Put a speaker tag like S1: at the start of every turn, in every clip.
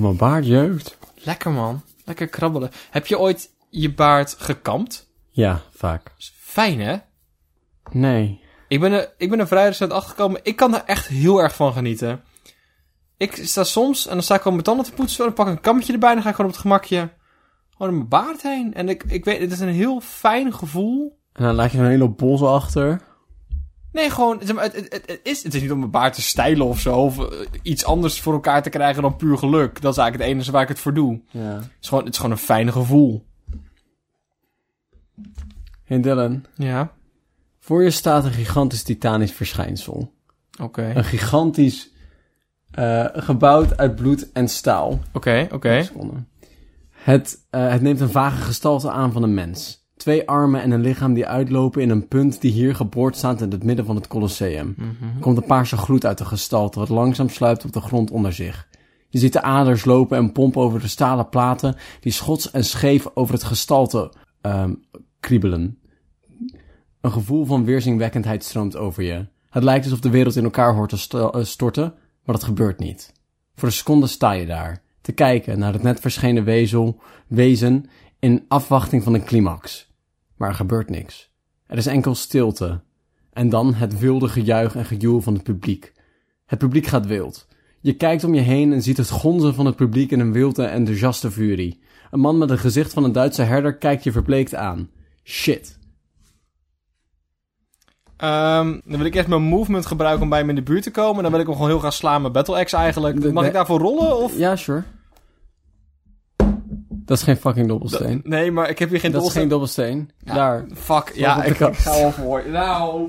S1: mijn baard jeukt.
S2: Lekker man. Lekker krabbelen. Heb je ooit je baard gekamd?
S1: Ja, vaak.
S2: Is Fijn hè?
S1: Nee.
S2: Ik ben er, ik ben er vrij recent achtergekomen. Ik kan er echt heel erg van genieten. Ik sta soms en dan sta ik al mijn tanden te poetsen. Dan pak ik een kammetje erbij en dan ga ik gewoon op het gemakje gewoon om mijn baard heen. En ik, ik weet, het is een heel fijn gevoel.
S1: En dan laat je zo'n hele hoop bos achter.
S2: Nee, gewoon, zeg maar, het, het, het, het is, het is niet om mijn baard te stijlen of zo. Of eh, iets anders voor elkaar te krijgen dan puur geluk. Dat is eigenlijk het enige waar ik het voor doe.
S1: Ja.
S2: Het is gewoon, het is gewoon een fijn gevoel.
S1: Hey Dylan,
S2: Ja,
S1: voor je staat een gigantisch titanisch verschijnsel.
S2: oké.
S1: Een gigantisch eh, gebouwd uit bloed en staal.
S2: Oké, oké.
S1: Seconde. Het, eh, het neemt een vage gestalte aan van een mens. Twee armen en een lichaam die uitlopen in een punt die hier geboord staat in het midden van het Colosseum. Er komt een paarse gloed uit de gestalte, wat langzaam sluipt op de grond onder zich. Je ziet de aders lopen en pompen over de stalen platen, die schots en scheef over het gestalte ehm, kriebelen. Een gevoel van weerzinwekkendheid stroomt over je. Het lijkt alsof de wereld in elkaar hoort te sto- eh, storten, maar dat gebeurt niet. Voor een seconde sta je daar, te kijken naar het net verschenen wezel, wezen in afwachting van een climax. Maar er gebeurt niks. Er is enkel stilte. En dan het wilde gejuich en gejoel van het publiek. Het publiek gaat wild. Je kijkt om je heen en ziet het gonzen van het publiek in een wilde, enthousiaste furie. Een man met een gezicht van een Duitse herder kijkt je verbleekt aan. Shit.
S2: Ehm, dan wil ik eerst mijn movement gebruiken om bij hem in de buurt te komen. Dan wil ik hem gewoon heel gaan slaan met Battle Axe eigenlijk.
S1: De-
S2: Mag
S1: de-
S2: ik daarvoor rollen? Of?
S1: Ja, sure. Dat is geen fucking dobbelsteen. Dat,
S2: Nee, maar ik heb hier geen
S1: is geen
S2: dobbelsteen.
S1: dobbelsteen. Daar.
S2: Fuck, ja,
S1: op de
S2: ik, ik
S1: kast.
S2: ga al voor. Nou,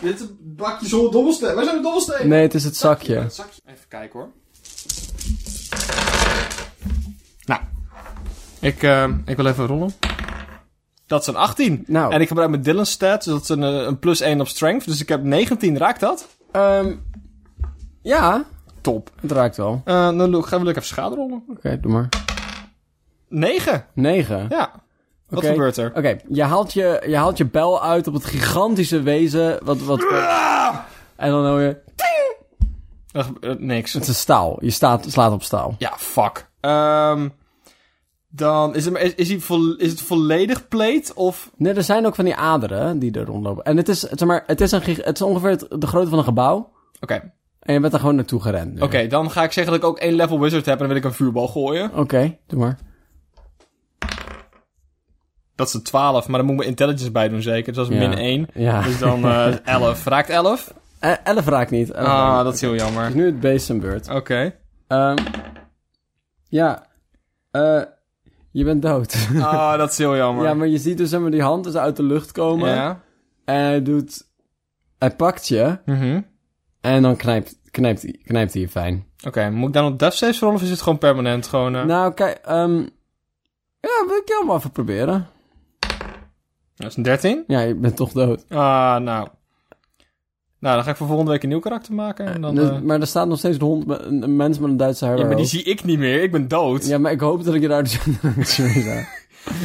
S2: dit is een bakje zonder dobbelsteen. Waar zijn de dobbelstenen?
S1: Nee, het is het zakje.
S2: Het zakje. Even kijken hoor. Nou, ik, ehm, ik wil even rollen. Dat is een 18.
S1: Nou.
S2: En ik gebruik mijn Dylan stat, dus dat is een, eh, een plus 1 op strength. Dus ik heb 19, raakt dat?
S1: Ehm ja,
S2: Top.
S1: het raakt wel. Oké,
S2: Eh dan doe ik- ga wil ik even schade rollen.
S1: doe maar.
S2: 9.
S1: 9.
S2: Ja. Wat
S1: Oké.
S2: gebeurt er?
S1: Oké, je, haalt je, je haalt je bel uit op het gigantische wezen. Wat, wat, Ah! en dan hoor je...
S2: Er gebeurt eh, niks.
S1: Het is staal. Je staat, slaat op staal.
S2: Ja, fuck. Ehm, dan is het, is, is, hij vol- is het volledig plate of...
S1: Nee, er zijn ook van die aderen die er rondlopen. En het is, zeg maar, het is, een, gig- het is ongeveer het- de grootte van een gebouw.
S2: Oké, oké,
S1: En je bent er gewoon naartoe gerend. nu.
S2: dan ga ik zeggen dat ik ook één level wizard heb en dan wil ik een vuurbal gooien.
S1: Oké, doe maar.
S2: Dat is een 12, maar dan moet ik mijn intelligence bij doen zeker. Dus dat is
S1: Ja.
S2: min 1.
S1: Ja.
S2: Dus dan eh 11. Raakt 11?
S1: Eh, 11 raakt niet. 11 raakt
S2: Ah,
S1: niet.
S2: dat is heel jammer.
S1: Dus nu het beest zijn beurt.
S2: Oké.
S1: Ehm, ja. Eh, je bent dood.
S2: Ah, dat is heel jammer.
S1: Ja, maar je ziet dus zeg maar, die hand is uit de lucht komen.
S2: Ja.
S1: En hij doet... Hij pakt je
S2: Mhm.
S1: en dan knijpt, knijpt, hij- knijpt hij je fijn.
S2: Oké, moet ik dan op death saves rollen of is het gewoon permanent? Gewoon, eh,
S1: Nou, kijk... ehm ja, wil ik jou maar even proberen.
S2: Dat is een 13.
S1: Ja, je bent toch dood.
S2: Ah, nou. Nou, dan ga ik voor volgende week een nieuw karakter maken. En dan,
S1: Dus-
S2: eh,
S1: maar er staat nog steeds een, hond, met- een, een mens met een Duitse herder.
S2: Ja, maar die zie ik niet meer. Ik ben dood.
S1: Ja, maar ik hoop dat ik je daar dus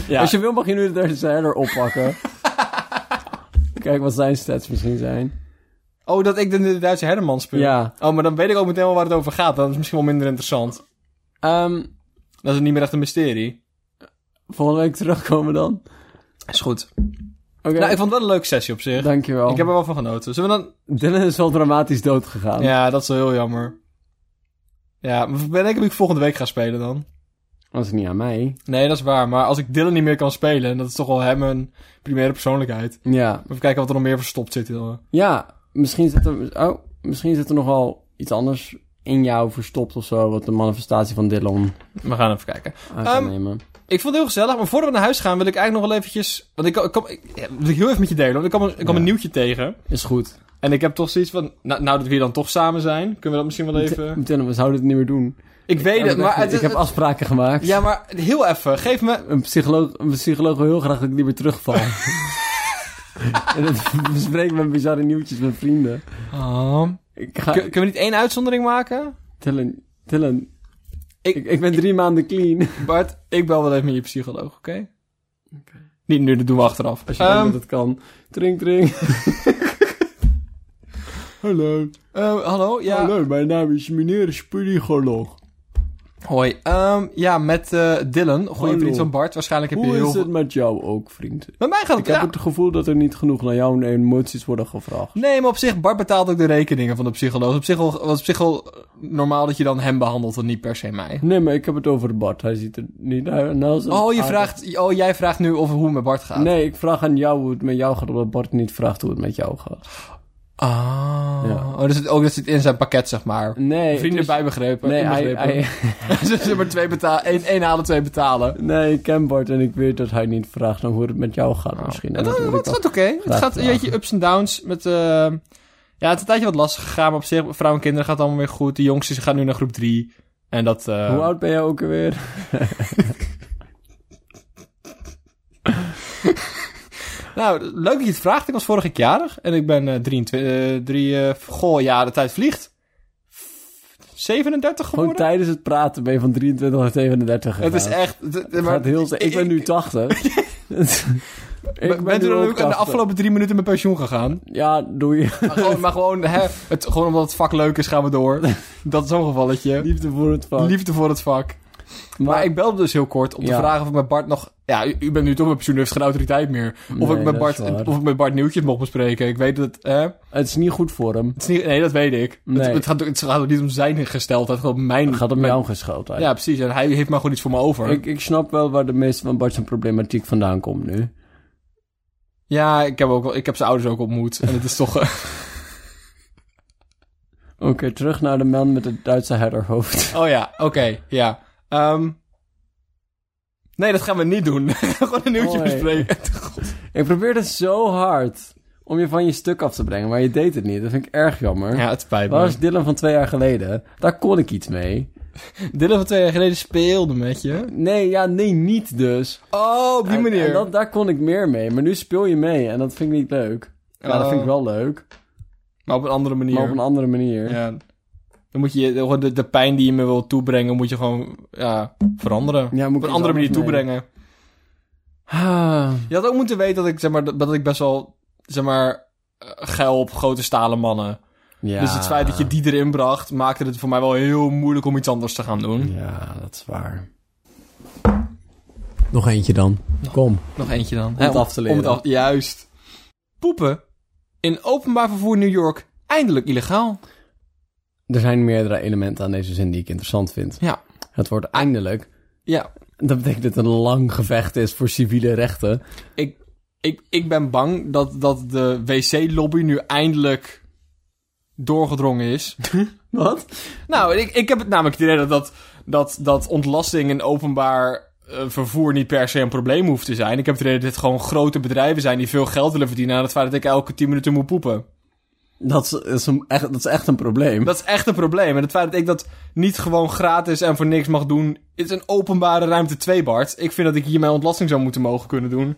S2: Ja.
S1: Als je wil mag je nu de Duitse herder oppakken. Kijk wat zijn stats misschien zijn.
S2: Oh, dat ik de, de Duitse herderman speel.
S1: Ja.
S2: Oh, maar dan weet ik ook meteen wel waar het over gaat. Dat is misschien wel minder interessant.
S1: Ehm,
S2: Dat is niet meer echt een mysterie.
S1: volgende week terugkomen dan.
S2: Is goed.
S1: Oké,
S2: Nou, ik vond het wel een leuke sessie op zich.
S1: dankjewel.
S2: Ik heb er wel van genoten. Zullen we dan...
S1: Dylan is wel dramatisch dood gegaan.
S2: Ja, dat is wel heel jammer. Ja, maar ben ik of ik volgende week ga spelen dan?
S1: Dat is niet aan mij.
S2: Nee, dat is waar. Maar als ik Dylan niet meer kan spelen... en dat is toch wel hem een primaire persoonlijkheid.
S1: Ja,
S2: Even kijken wat er nog meer verstopt zit. Joh.
S1: ja misschien, zit er, oh, misschien zit er nogal iets anders in jou verstopt of zo... wat de manifestatie van Dylan
S2: We gaan even kijken.
S1: aan kan
S2: Ehm,
S1: nemen.
S2: Ik vond het heel gezellig, maar voordat we naar huis gaan wil ik eigenlijk nog wel eventjes... Want ik, ik, kom, ik, ja, wil ik heel even met je delen, want ik kwam, een- ik kwam
S1: Ja.
S2: een nieuwtje tegen.
S1: Is goed.
S2: En ik heb toch zoiets van, nou, nou dat we hier dan toch samen zijn, kunnen we dat misschien wel even...
S1: Dylan, we zouden dit niet meer doen.
S2: Ik weet het, maar... Het,
S1: ik
S2: is-
S1: heb
S2: het-
S1: afspraken gemaakt.
S2: ja, maar heel even, geef me...
S1: Een psycholoog, een psycholoog wil heel graag dat ik niet meer terugval. en dat bespreek ik met bizarre nieuwtjes met vrienden. Ik ga...
S2: Kun- kunnen we niet één uitzondering maken?
S1: Dylan, Dylan.
S2: Ik-
S1: Ik, ik, ben drie maanden clean.
S2: Bart, ik bel wel even met je psycholoog, oké? Niet nu, dat doen we achteraf.
S1: Als je denkt
S2: Ehm,
S1: dat het kan. Drink, drink. Hallo.
S2: ehm, hallo, ja...
S1: Hallo, mijn naam is meneer Spudicoloog.
S2: Hoi. Ehm, ja, met eh, Dylan, goede
S1: Hallo.
S2: vriend van Bart. Waarschijnlijk heb je
S1: Hoe
S2: heel
S1: is
S2: veel...
S1: het met jou ook, vriend?
S2: Met mij gaat
S1: Ik
S2: het...
S1: heb
S2: Ja.
S1: het gevoel dat er niet genoeg naar jouw emoties worden gevraagd.
S2: Nee, maar op zich, Bart betaalt ook de rekeningen van de psycholoog. Op zich wel- was op zich wel eh, normaal dat je dan hem behandelt en niet per se mij.
S1: Nee, maar ik heb het over Bart. Hij ziet er niet uit. Nou, is het
S2: Oh, je
S1: aardig.
S2: vraagt, oh, jij vraagt nu over hoe het met Bart gaat.
S1: Nee, ik vraag aan jou hoe het met jou gaat, omdat Bart niet vraagt hoe het met jou gaat.
S2: Ah.
S1: Ja.
S2: Oh, dat zit ook dat zit in zijn pakket, zeg maar.
S1: Nee,
S2: Vrienden
S1: het is-
S2: bijbegrepen.
S1: Nee, hij,
S2: inbegrepen.
S1: hij-
S2: Ze zullen maar twee betalen. Eén, één halen, twee betalen.
S1: nee, ik ken Bart en ik weet dat hij niet vraagt dan hoe het met jou gaat misschien. En
S2: Het,
S1: dat wil
S2: het,
S1: ik
S2: het
S1: wel-
S2: gaat oké. Het
S1: graag
S2: gaat een
S1: vragen.
S2: beetje ups en downs. Met, eh, ja, het is een tijdje wat lastig gegaan. Maar op zich, vrouwen en kinderen gaat het allemaal weer goed. De jongste gaat nu naar groep 3. En dat... eh,
S1: Hoe oud ben jij ook alweer?
S2: Nou, leuk dat je het vraagt. Ik was vorig jaar jarig. En ik ben eh 23... eh, drie, eh, goh, ja, de tijd vliegt. 37
S1: Gewoon
S2: geworden?
S1: tijdens het praten ben je van 23 naar 37 gegaan.
S2: Het is echt... d- d-
S1: Het
S2: maar-
S1: gaat heel snel. Ik ben nu 80. ik
S2: Ben, bent u dan ook aan de afgelopen drie minuten met pensioen gegaan?
S1: Ja, doei.
S2: Maar gewoon, maar gewoon, hè, het, gewoon omdat het vak leuk is, gaan we door. Dat is zo'n gevalletje.
S1: Liefde voor het vak.
S2: Liefde voor het vak.
S1: maar,
S2: Maar ik belde dus heel kort om te
S1: Ja.
S2: vragen of ik met Bart nog... Ja, u, u bent nu toch met pensioen, u heeft geen autoriteit meer. Of,
S1: Nee,
S2: ik, met
S1: dat is
S2: Bart,
S1: waar.
S2: of ik met Bart nieuwtjes mocht bespreken. Ik weet dat... Hè, het
S1: het is niet goed voor hem.
S2: is niet, nee, dat weet ik.
S1: Nee.
S2: Het, het gaat, het gaat ook niet om zijn gesteldheid, gewoon om mijn...
S1: Het gaat om
S2: mijn-
S1: jouw geschoten.
S2: Ja, precies. En hij heeft maar gewoon iets voor me over.
S1: Ik, ik snap wel waar de meeste van Bart zijn problematiek vandaan komt nu.
S2: Ja, ik heb, ook, wel- ik heb zijn ouders ook ontmoet. En het is toch... eh,
S1: Oké, terug naar de man met het Duitse herderhoofd.
S2: Oh ja, oké, ja. Ehm, nee, dat gaan we niet doen. Gewoon een nieuwtje
S1: Hoi.
S2: bespreken.
S1: Ik probeerde zo hard om je van je stuk af te brengen, maar je deed het niet. Dat vind ik erg jammer.
S2: Ja, het spijt me.
S1: Waar is Dylan van twee jaar geleden? Daar kon ik iets mee.
S2: Dylan van twee jaar geleden speelde met je.
S1: Nee, ja, nee, niet dus.
S2: Oh, op die
S1: En-
S2: manier.
S1: en dat, daar kon ik meer mee. Maar nu speel je mee en dat vind ik niet leuk. Ja, dat
S2: Oh.
S1: vind ik wel leuk.
S2: Maar op een andere manier.
S1: Maar op een andere manier.
S2: Ja. Dan moet je gewoon de, de pijn die je me wil toebrengen, moet je gewoon ja, veranderen.
S1: Ja, moet ik
S2: op een
S1: iets
S2: andere manier
S1: anders mee.
S2: toebrengen. Je had ook moeten weten dat ik, zeg maar, dat, dat ik best wel, zeg maar, eh, geil op grote stalen mannen.
S1: Ja.
S2: Dus het feit dat je die erin bracht, maakte het voor mij wel heel moeilijk om iets anders te gaan doen.
S1: Ja, dat is waar. Nog eentje dan. Kom.
S2: Nog eentje dan. Om
S1: het af te leren.
S2: Om het af, juist. Poepen in openbaar vervoer in New York eindelijk illegaal.
S1: Er zijn meerdere elementen aan deze zin die ik interessant vind.
S2: Ja.
S1: Het wordt eindelijk.
S2: Ja.
S1: Dat betekent dat het een lang gevecht is voor civiele rechten.
S2: Ik, ik, ik ben bang dat, dat de wc-lobby nu eindelijk doorgedrongen is.
S1: Wat?
S2: nou, ik, ik heb het namelijk het idee dat, dat, dat, dat ontlasting in openbaar eh, vervoer niet per se een probleem hoeft te zijn. Ik heb het idee dat dit gewoon grote bedrijven zijn die veel geld willen verdienen aan het feit dat ik elke 10 minuten moet poepen.
S1: Dat is, is een, echt, dat is echt een probleem.
S2: Dat is echt een probleem. En het feit dat ik dat niet gewoon gratis en voor niks mag doen... is een openbare ruimte 2, Bart. Ik vind dat ik hier mijn ontlasting zou moeten mogen kunnen doen.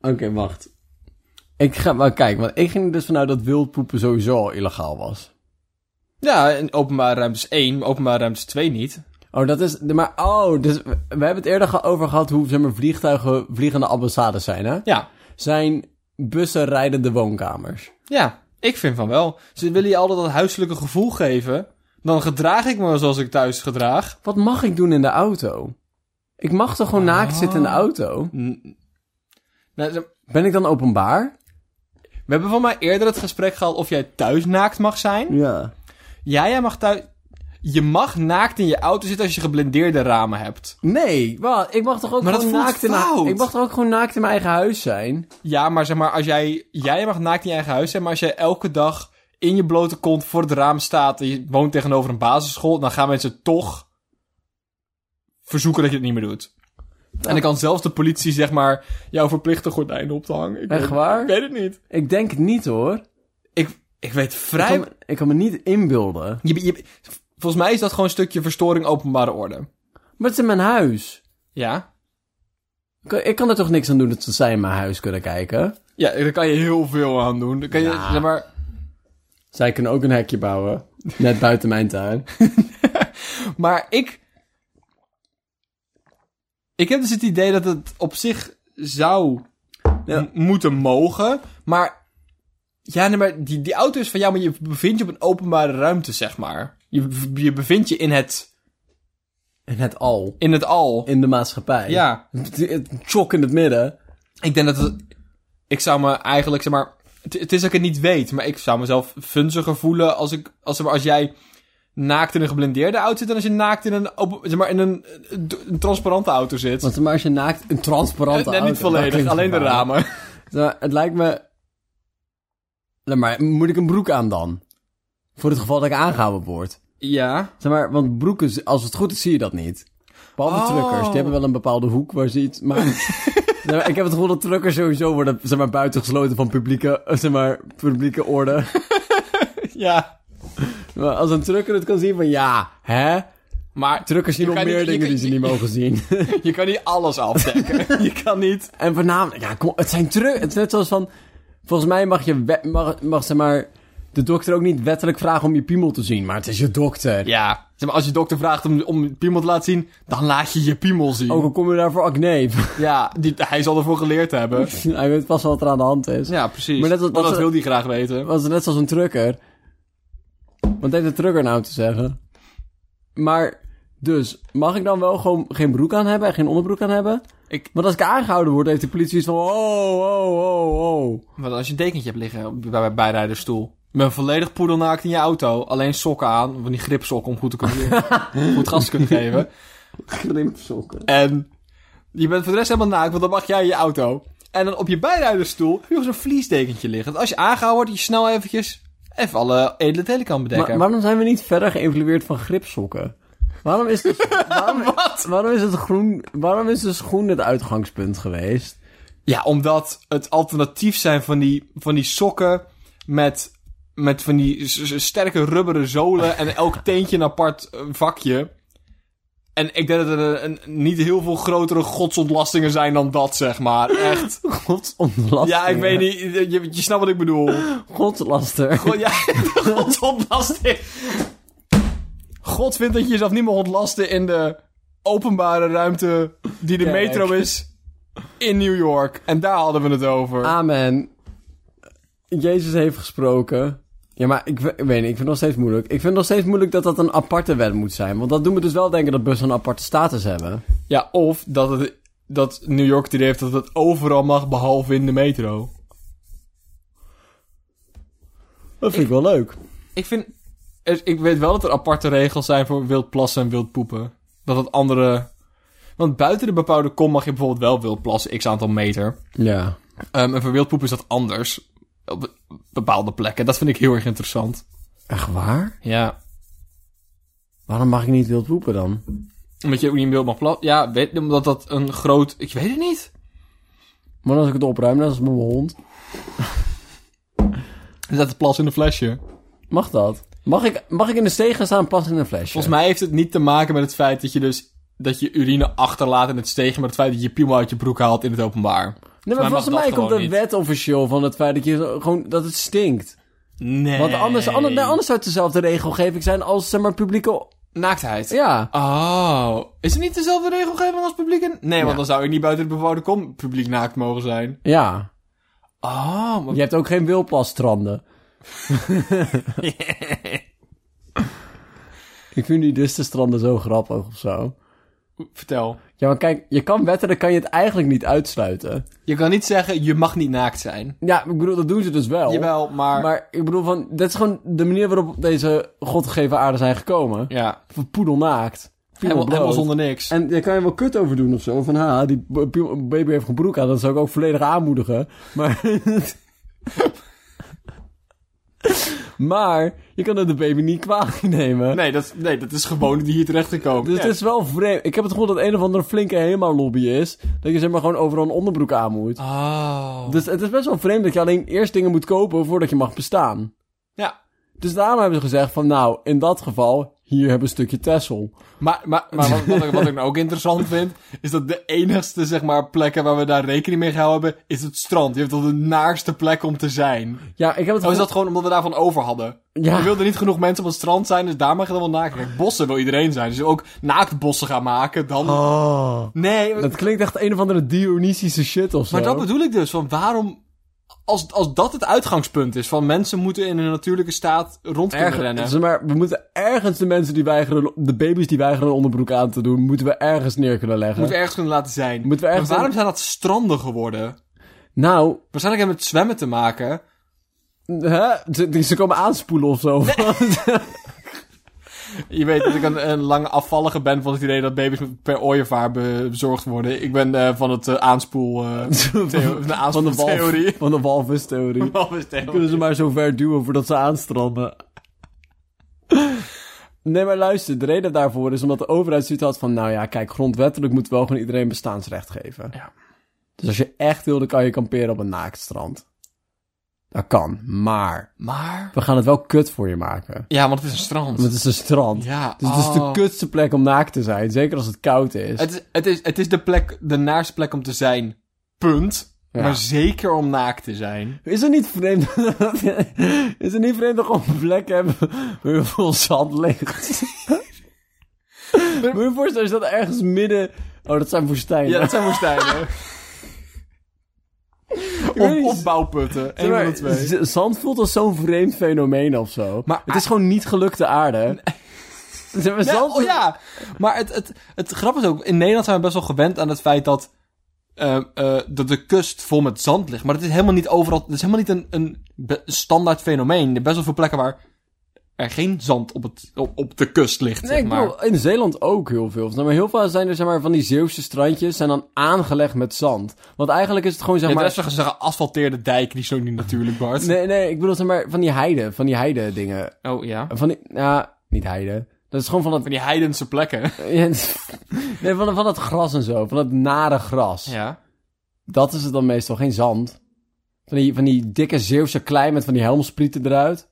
S1: Oké, wacht. Ik ga maar kijken, want ik ging er dus vanuit dat wildpoepen sowieso al illegaal was.
S2: Ja, en openbare ruimtes 1, openbare ruimtes 2 niet.
S1: Oh, dat is. Maar, oh, dus we we hebben het eerder ge- over gehad hoe zeg maar, vliegtuigen vliegende ambassades zijn, hè?
S2: Ja,
S1: Zijn bussen rijdende woonkamers.
S2: ja, ik vind van wel. Ze willen je altijd dat huiselijke gevoel geven. Dan gedraag ik me zoals ik thuis gedraag.
S1: Wat mag ik doen in de auto? Ik mag toch gewoon
S2: Ah.
S1: naakt zitten in de auto?
S2: N- Nou, ze-
S1: Ben ik dan openbaar?
S2: We hebben van mij eerder het gesprek gehad of jij thuis naakt mag zijn.
S1: Ja.
S2: Ja, jij mag thuis... Je mag naakt in je auto zitten als je geblendeerde ramen hebt.
S1: Nee, wel, ik mag toch ook
S2: Maar dat
S1: gewoon
S2: voelt
S1: naakt in
S2: fout.
S1: Ik mag toch ook gewoon naakt in mijn eigen huis zijn.
S2: Ja, maar zeg maar, als jij... Jij mag naakt in je eigen huis zijn, maar als jij elke dag in je blote kont voor het raam staat en je woont tegenover een basisschool, dan gaan mensen toch verzoeken dat je het niet meer doet. En dan kan zelfs de politie, zeg maar, jou verplichten gordijnen op te hangen. Ik
S1: Echt
S2: weet-
S1: waar?
S2: Ik weet het niet.
S1: Ik denk het niet hoor.
S2: Ik, ik weet
S1: Ik
S2: vrij...
S1: kan, me- ik kan me niet inbeelden.
S2: Je, je- volgens mij is dat gewoon een stukje verstoring openbare orde.
S1: Maar het is in mijn huis.
S2: Ja?
S1: Ik kan- Ik kan er toch niks aan doen dat zij in mijn huis kunnen kijken?
S2: Ja, daar kan je heel veel aan doen. Daar kan je,
S1: Ja.
S2: zeg maar...
S1: Zij kunnen ook een hekje bouwen. Net buiten mijn tuin.
S2: Maar ik. Ik heb dus het idee dat het op zich zou
S1: Ja.
S2: m- moeten mogen. Maar. Ja, nee, maar die, die auto is van jou, maar je bevindt je op een openbare ruimte, zeg maar. Je, bev- je bevindt je in het
S1: in het al.
S2: In het al.
S1: In de maatschappij.
S2: Ja.
S1: Het- het- Chok in het midden.
S2: Ik denk dat het... Ik zou me eigenlijk, zeg maar... Het, het is dat ik het niet weet, maar ik zou mezelf funziger voelen als ik... Als, zeg maar, als jij naakt in een geblindeerde auto zit... en als je naakt in een, open- zeg maar, in een, een transparante auto zit.
S1: Want maar als je naakt een transparante
S2: Eh, nee, niet
S1: auto- dat
S2: volledig,
S1: klinkt
S2: alleen de
S1: gevaarlijk.
S2: ramen.
S1: Nou, het lijkt me... Nou, maar moet ik een broek aan dan? Voor het geval dat ik aangehouden word.
S2: Ja.
S1: Zeg maar, want broeken, als het goed is, zie je dat niet. Behalve
S2: Oh.
S1: truckers, die hebben wel een bepaalde hoek waar ze iets... Maar, Zeg maar, ik heb het gevoel dat truckers sowieso worden zeg maar, buitengesloten van publieke, eh, zeg maar, publieke orde.
S2: Ja.
S1: Maar als een trucker het kan zien van ja, hè?
S2: Maar
S1: Truckers zien
S2: Je
S1: nog meer
S2: kan niet- je
S1: dingen
S2: kan-
S1: die ze niet mogen zien.
S2: je kan niet alles afdekken. je kan niet...
S1: En voornamelijk, ja, kom, het zijn truc. Het is net zoals van. Volgens mij mag je, we- mag, mag zeg maar. De dokter ook niet wettelijk vragen om je piemel te zien, maar het is je dokter.
S2: Ja. Zeg maar, als je dokter vraagt om, om piemel te laten zien... dan laat je je piemel zien.
S1: Ook al kom je daar voor acne.
S2: Ja, die, hij zal ervoor geleerd hebben.
S1: Hij weet vast wel wat er aan de hand is.
S2: Ja,
S1: Maar
S2: precies. Maar
S1: net als-
S2: dat,
S1: dat-
S2: wil hij graag weten.
S1: Was het net zoals een trucker. Wat heeft een trucker nou te zeggen? Maar, dus, mag ik dan wel gewoon geen broek aan hebben en geen onderbroek aan hebben?
S2: Ik-
S1: Want als ik aangehouden word, heeft de politie iets van... Oh, oh, oh, oh.
S2: Want als je een dekentje hebt liggen op- bij mijn bijrijdersstoel. Ik ben volledig poedelnaakt in je auto. Alleen sokken aan. Van die gripsokken om goed te kunnen goed gas te kunnen geven.
S1: Krimpsokken.
S2: En je bent voor de rest helemaal naakt, want dan mag jij in je auto. En dan op je bijrijdersstoel heb je nog zo'n vliesdekentje liggen. Als je aangehouden wordt, je snel eventjes... Even alle edele telen kan bedekken.
S1: Maar, waarom zijn we niet verder geëvalueerd van gripsokken? Waarom is, het, waarom, waarom is het groen... Waarom is de schoen het uitgangspunt geweest?
S2: Ja, omdat het alternatief zijn van die, van die sokken met, met van die s- s- sterke rubberen zolen en elk teentje een apart eh, vakje. En ik denk dat er een, een- niet heel veel grotere godsontlastingen zijn dan dat, zeg maar. Echt.
S1: Godsontlaster.
S2: Ja, ik weet niet. Je, je snapt wat ik bedoel.
S1: Godslaster.
S2: Gewoon, ja, godsontlasting. God vindt dat je jezelf niet mag ontlasten in de openbare ruimte die de
S1: Kijk.
S2: metro is in New York. En daar hadden we het over.
S1: Amen. Jezus heeft gesproken. Ja, maar ik, we- ik weet niet, ik vind het nog steeds moeilijk. Ik vind het nog steeds moeilijk dat dat een aparte wet moet zijn. Want dat doet me dus wel denken dat bussen een aparte status hebben.
S2: Ja, of dat, het, dat New York het idee heeft dat het overal mag, behalve in de metro.
S1: Dat vind ik wel leuk.
S2: Ik vind... er- Ik weet wel dat er aparte regels zijn voor wild plassen en wild poepen. Dat het andere... Want buiten de bepaalde kom mag je bijvoorbeeld wel wild plassen, x aantal meter.
S1: Ja.
S2: Ehm, en voor wild poepen is dat anders. Op bepaalde plekken. Dat vind ik heel erg interessant.
S1: Echt waar?
S2: Ja.
S1: Waarom mag ik niet wild poepen dan?
S2: Omdat je ook niet in wild mag plassen. Ja, weet, omdat dat een groot... Ik weet het niet.
S1: Maar als ik het opruim, net als met mijn hond.
S2: Er staat het plas in een flesje.
S1: Mag dat? Mag ik, mag ik in de steeg gaan staan plassen in een flesje?
S2: Volgens mij heeft het niet te maken met het feit dat je dus dat je urine achterlaat in het steegje, maar het feit dat je piemel uit je broek haalt in het openbaar.
S1: nee, maar volgens
S2: mag dat
S1: mij komt
S2: gewoon
S1: de
S2: niet.
S1: wet officieel van het feit dat, je zo- gewoon, dat het stinkt.
S2: Nee.
S1: Want anders, anders, nou- nee, anders zou het dezelfde regelgeving zijn als zeg maar, publieke...
S2: Naaktheid.
S1: Ja.
S2: Oh. Is het niet dezelfde regelgeving als publiek? in- Nee, want
S1: Ja.
S2: dan zou ik niet buiten de bewoonde kom publiek naakt mogen zijn.
S1: Ja.
S2: Oh. Maar...
S1: Je hebt ook geen wilplasstranden. ik vind die distenstranden zo grappig of zo.
S2: Vertel.
S1: Ja, maar kijk, je kan wetten, dan kan je het eigenlijk niet uitsluiten.
S2: Je kan niet zeggen, je mag niet naakt zijn.
S1: Ja, ik bedoel, dat doen ze dus wel.
S2: Jawel, maar...
S1: Maar ik bedoel, van, dat is gewoon de manier waarop deze godgegeven aarde zijn gekomen.
S2: Ja.
S1: Van Poedelnaakt.
S2: Helemaal,
S1: piemelbloot.
S2: helemaal zonder niks.
S1: En daar kan je wel kut over doen of zo. Van, ha, die b- p- baby heeft geen broek aan. Dat zou ik ook volledig aanmoedigen. Maar... maar je kan het de baby niet kwalijk nemen.
S2: Nee, dat, nee, dat is gewoon die hier terecht gekomen.
S1: Dus het is wel vreemd. Ik heb het gevoel dat een of andere flinke helemaal lobby is. Dat je zeg maar gewoon overal een onderbroek aan moet.
S2: Oh.
S1: Dus het is best wel vreemd dat je alleen eerst dingen moet kopen voordat je mag bestaan.
S2: Ja.
S1: Dus daarom hebben ze gezegd van nou, in dat geval, hier heb een stukje Tessel.
S2: Maar, maar, maar wat, wat, ik, wat ik nou ook interessant vind, is dat de enigste zeg maar, plekken waar we daar rekening mee gehouden hebben, is het strand. Je hebt al de naarste plek om te zijn.
S1: Ja, ik heb het
S2: Of Oh, is
S1: gevoel-
S2: dat gewoon omdat we daarvan over hadden?
S1: Ja.
S2: We wilden niet genoeg mensen op het strand zijn, dus daar mag je dan wel naakt. Kijk, bossen wil iedereen zijn. Dus je wil ook naaktbossen gaan maken, dan...
S1: Oh.
S2: Nee,
S1: Dat klinkt echt een of andere Dionysische shit of zo.
S2: maar dat bedoel ik dus. Van waarom... als, als dat het uitgangspunt is, van mensen moeten in een natuurlijke staat rond kunnen rennen.
S1: Ergens, zeg maar, we moeten ergens de mensen die weigeren, de baby's die weigeren een onderbroek aan te doen, moeten we ergens neer kunnen leggen.
S2: Moeten we ergens kunnen laten zijn.
S1: Moeten we ergens-
S2: Maar waarom zijn dat stranden geworden?
S1: Nou,
S2: Waarschijnlijk hebben het met zwemmen te maken.
S1: hè? Ze, die- ze komen aanspoelen of zo.
S2: Je weet dat ik een, een lange afvallige ben van het idee dat baby's met- per ooievaar be- bezorgd worden. Ik ben eh, van het eh, aanspoel... eh Theo-
S1: van
S2: de
S1: de walvis
S2: aanspoeltheorie.
S1: Van de walvistheorie.
S2: walvistheorie.
S1: Kunnen ze maar zo ver duwen voordat ze aanstranden. Nee, maar luister, de reden daarvoor is omdat de overheid zoiets had van... Nou ja, kijk, grondwettelijk moet wel gewoon iedereen bestaansrecht geven.
S2: Ja.
S1: Dus als je echt wil, dan kan je kamperen op een naaktstrand. Dat kan, maar
S2: Maar...
S1: we gaan het wel kut voor je maken.
S2: Ja, want het is een strand.
S1: Want het is een strand.
S2: Ja,
S1: Dus het is de
S2: oh.
S1: kutste plek om naakt te zijn, zeker als het koud is.
S2: Het is, het is, het is de, plek, de naarste plek om te zijn. Punt.
S1: Ja.
S2: Maar zeker om naakt te zijn.
S1: Is het niet vreemd? is het niet vreemd dat we gewoon een plek hebben waar heel veel zand ligt? Moet je je voorstellen, is dat ergens midden... Oh, dat zijn woestijnen.
S2: Ja, dat zijn woestijnen.
S1: weet niet.
S2: Op, opbouwputten. Eén
S1: Zeg maar,
S2: van de twee.
S1: z- Zand voelt als zo'n vreemd fenomeen of zo.
S2: Maar-
S1: het is gewoon niet gelukte aarde. Zeg maar,
S2: Ja,
S1: zand-
S2: oh ja. Maar het, het, het grap is ook, in Nederland zijn we best wel gewend aan het feit dat, eh, eh, dat de kust vol met zand ligt. Maar dat is helemaal niet overal, dat is helemaal niet een, een be- standaard fenomeen. Er zijn best wel veel plekken waar er geen zand op, het, op, op de kust ligt,
S1: Nee,
S2: zeg
S1: ik
S2: maar.
S1: bedoel, in Zeeland ook heel veel. Zeg maar heel veel zijn er zeg maar, van die Zeeuwse strandjes zijn dan aangelegd met zand. Want eigenlijk is het gewoon zeg
S2: Ja, de
S1: maar...
S2: rest van ze zeggen asfalteerde dijken, die is ook niet natuurlijk, Bart.
S1: Nee, nee, ik bedoel zeg maar van die heide, van die heide dingen.
S2: Oh ja.
S1: Van die, nou, niet heide. Dat is gewoon van dat...
S2: Van die heidense plekken.
S1: Nee, van, van dat gras en zo. Van dat nare gras.
S2: Ja.
S1: Dat is het dan meestal, geen zand. Van die, van die dikke Zeeuwse klei met van die helmsprieten eruit.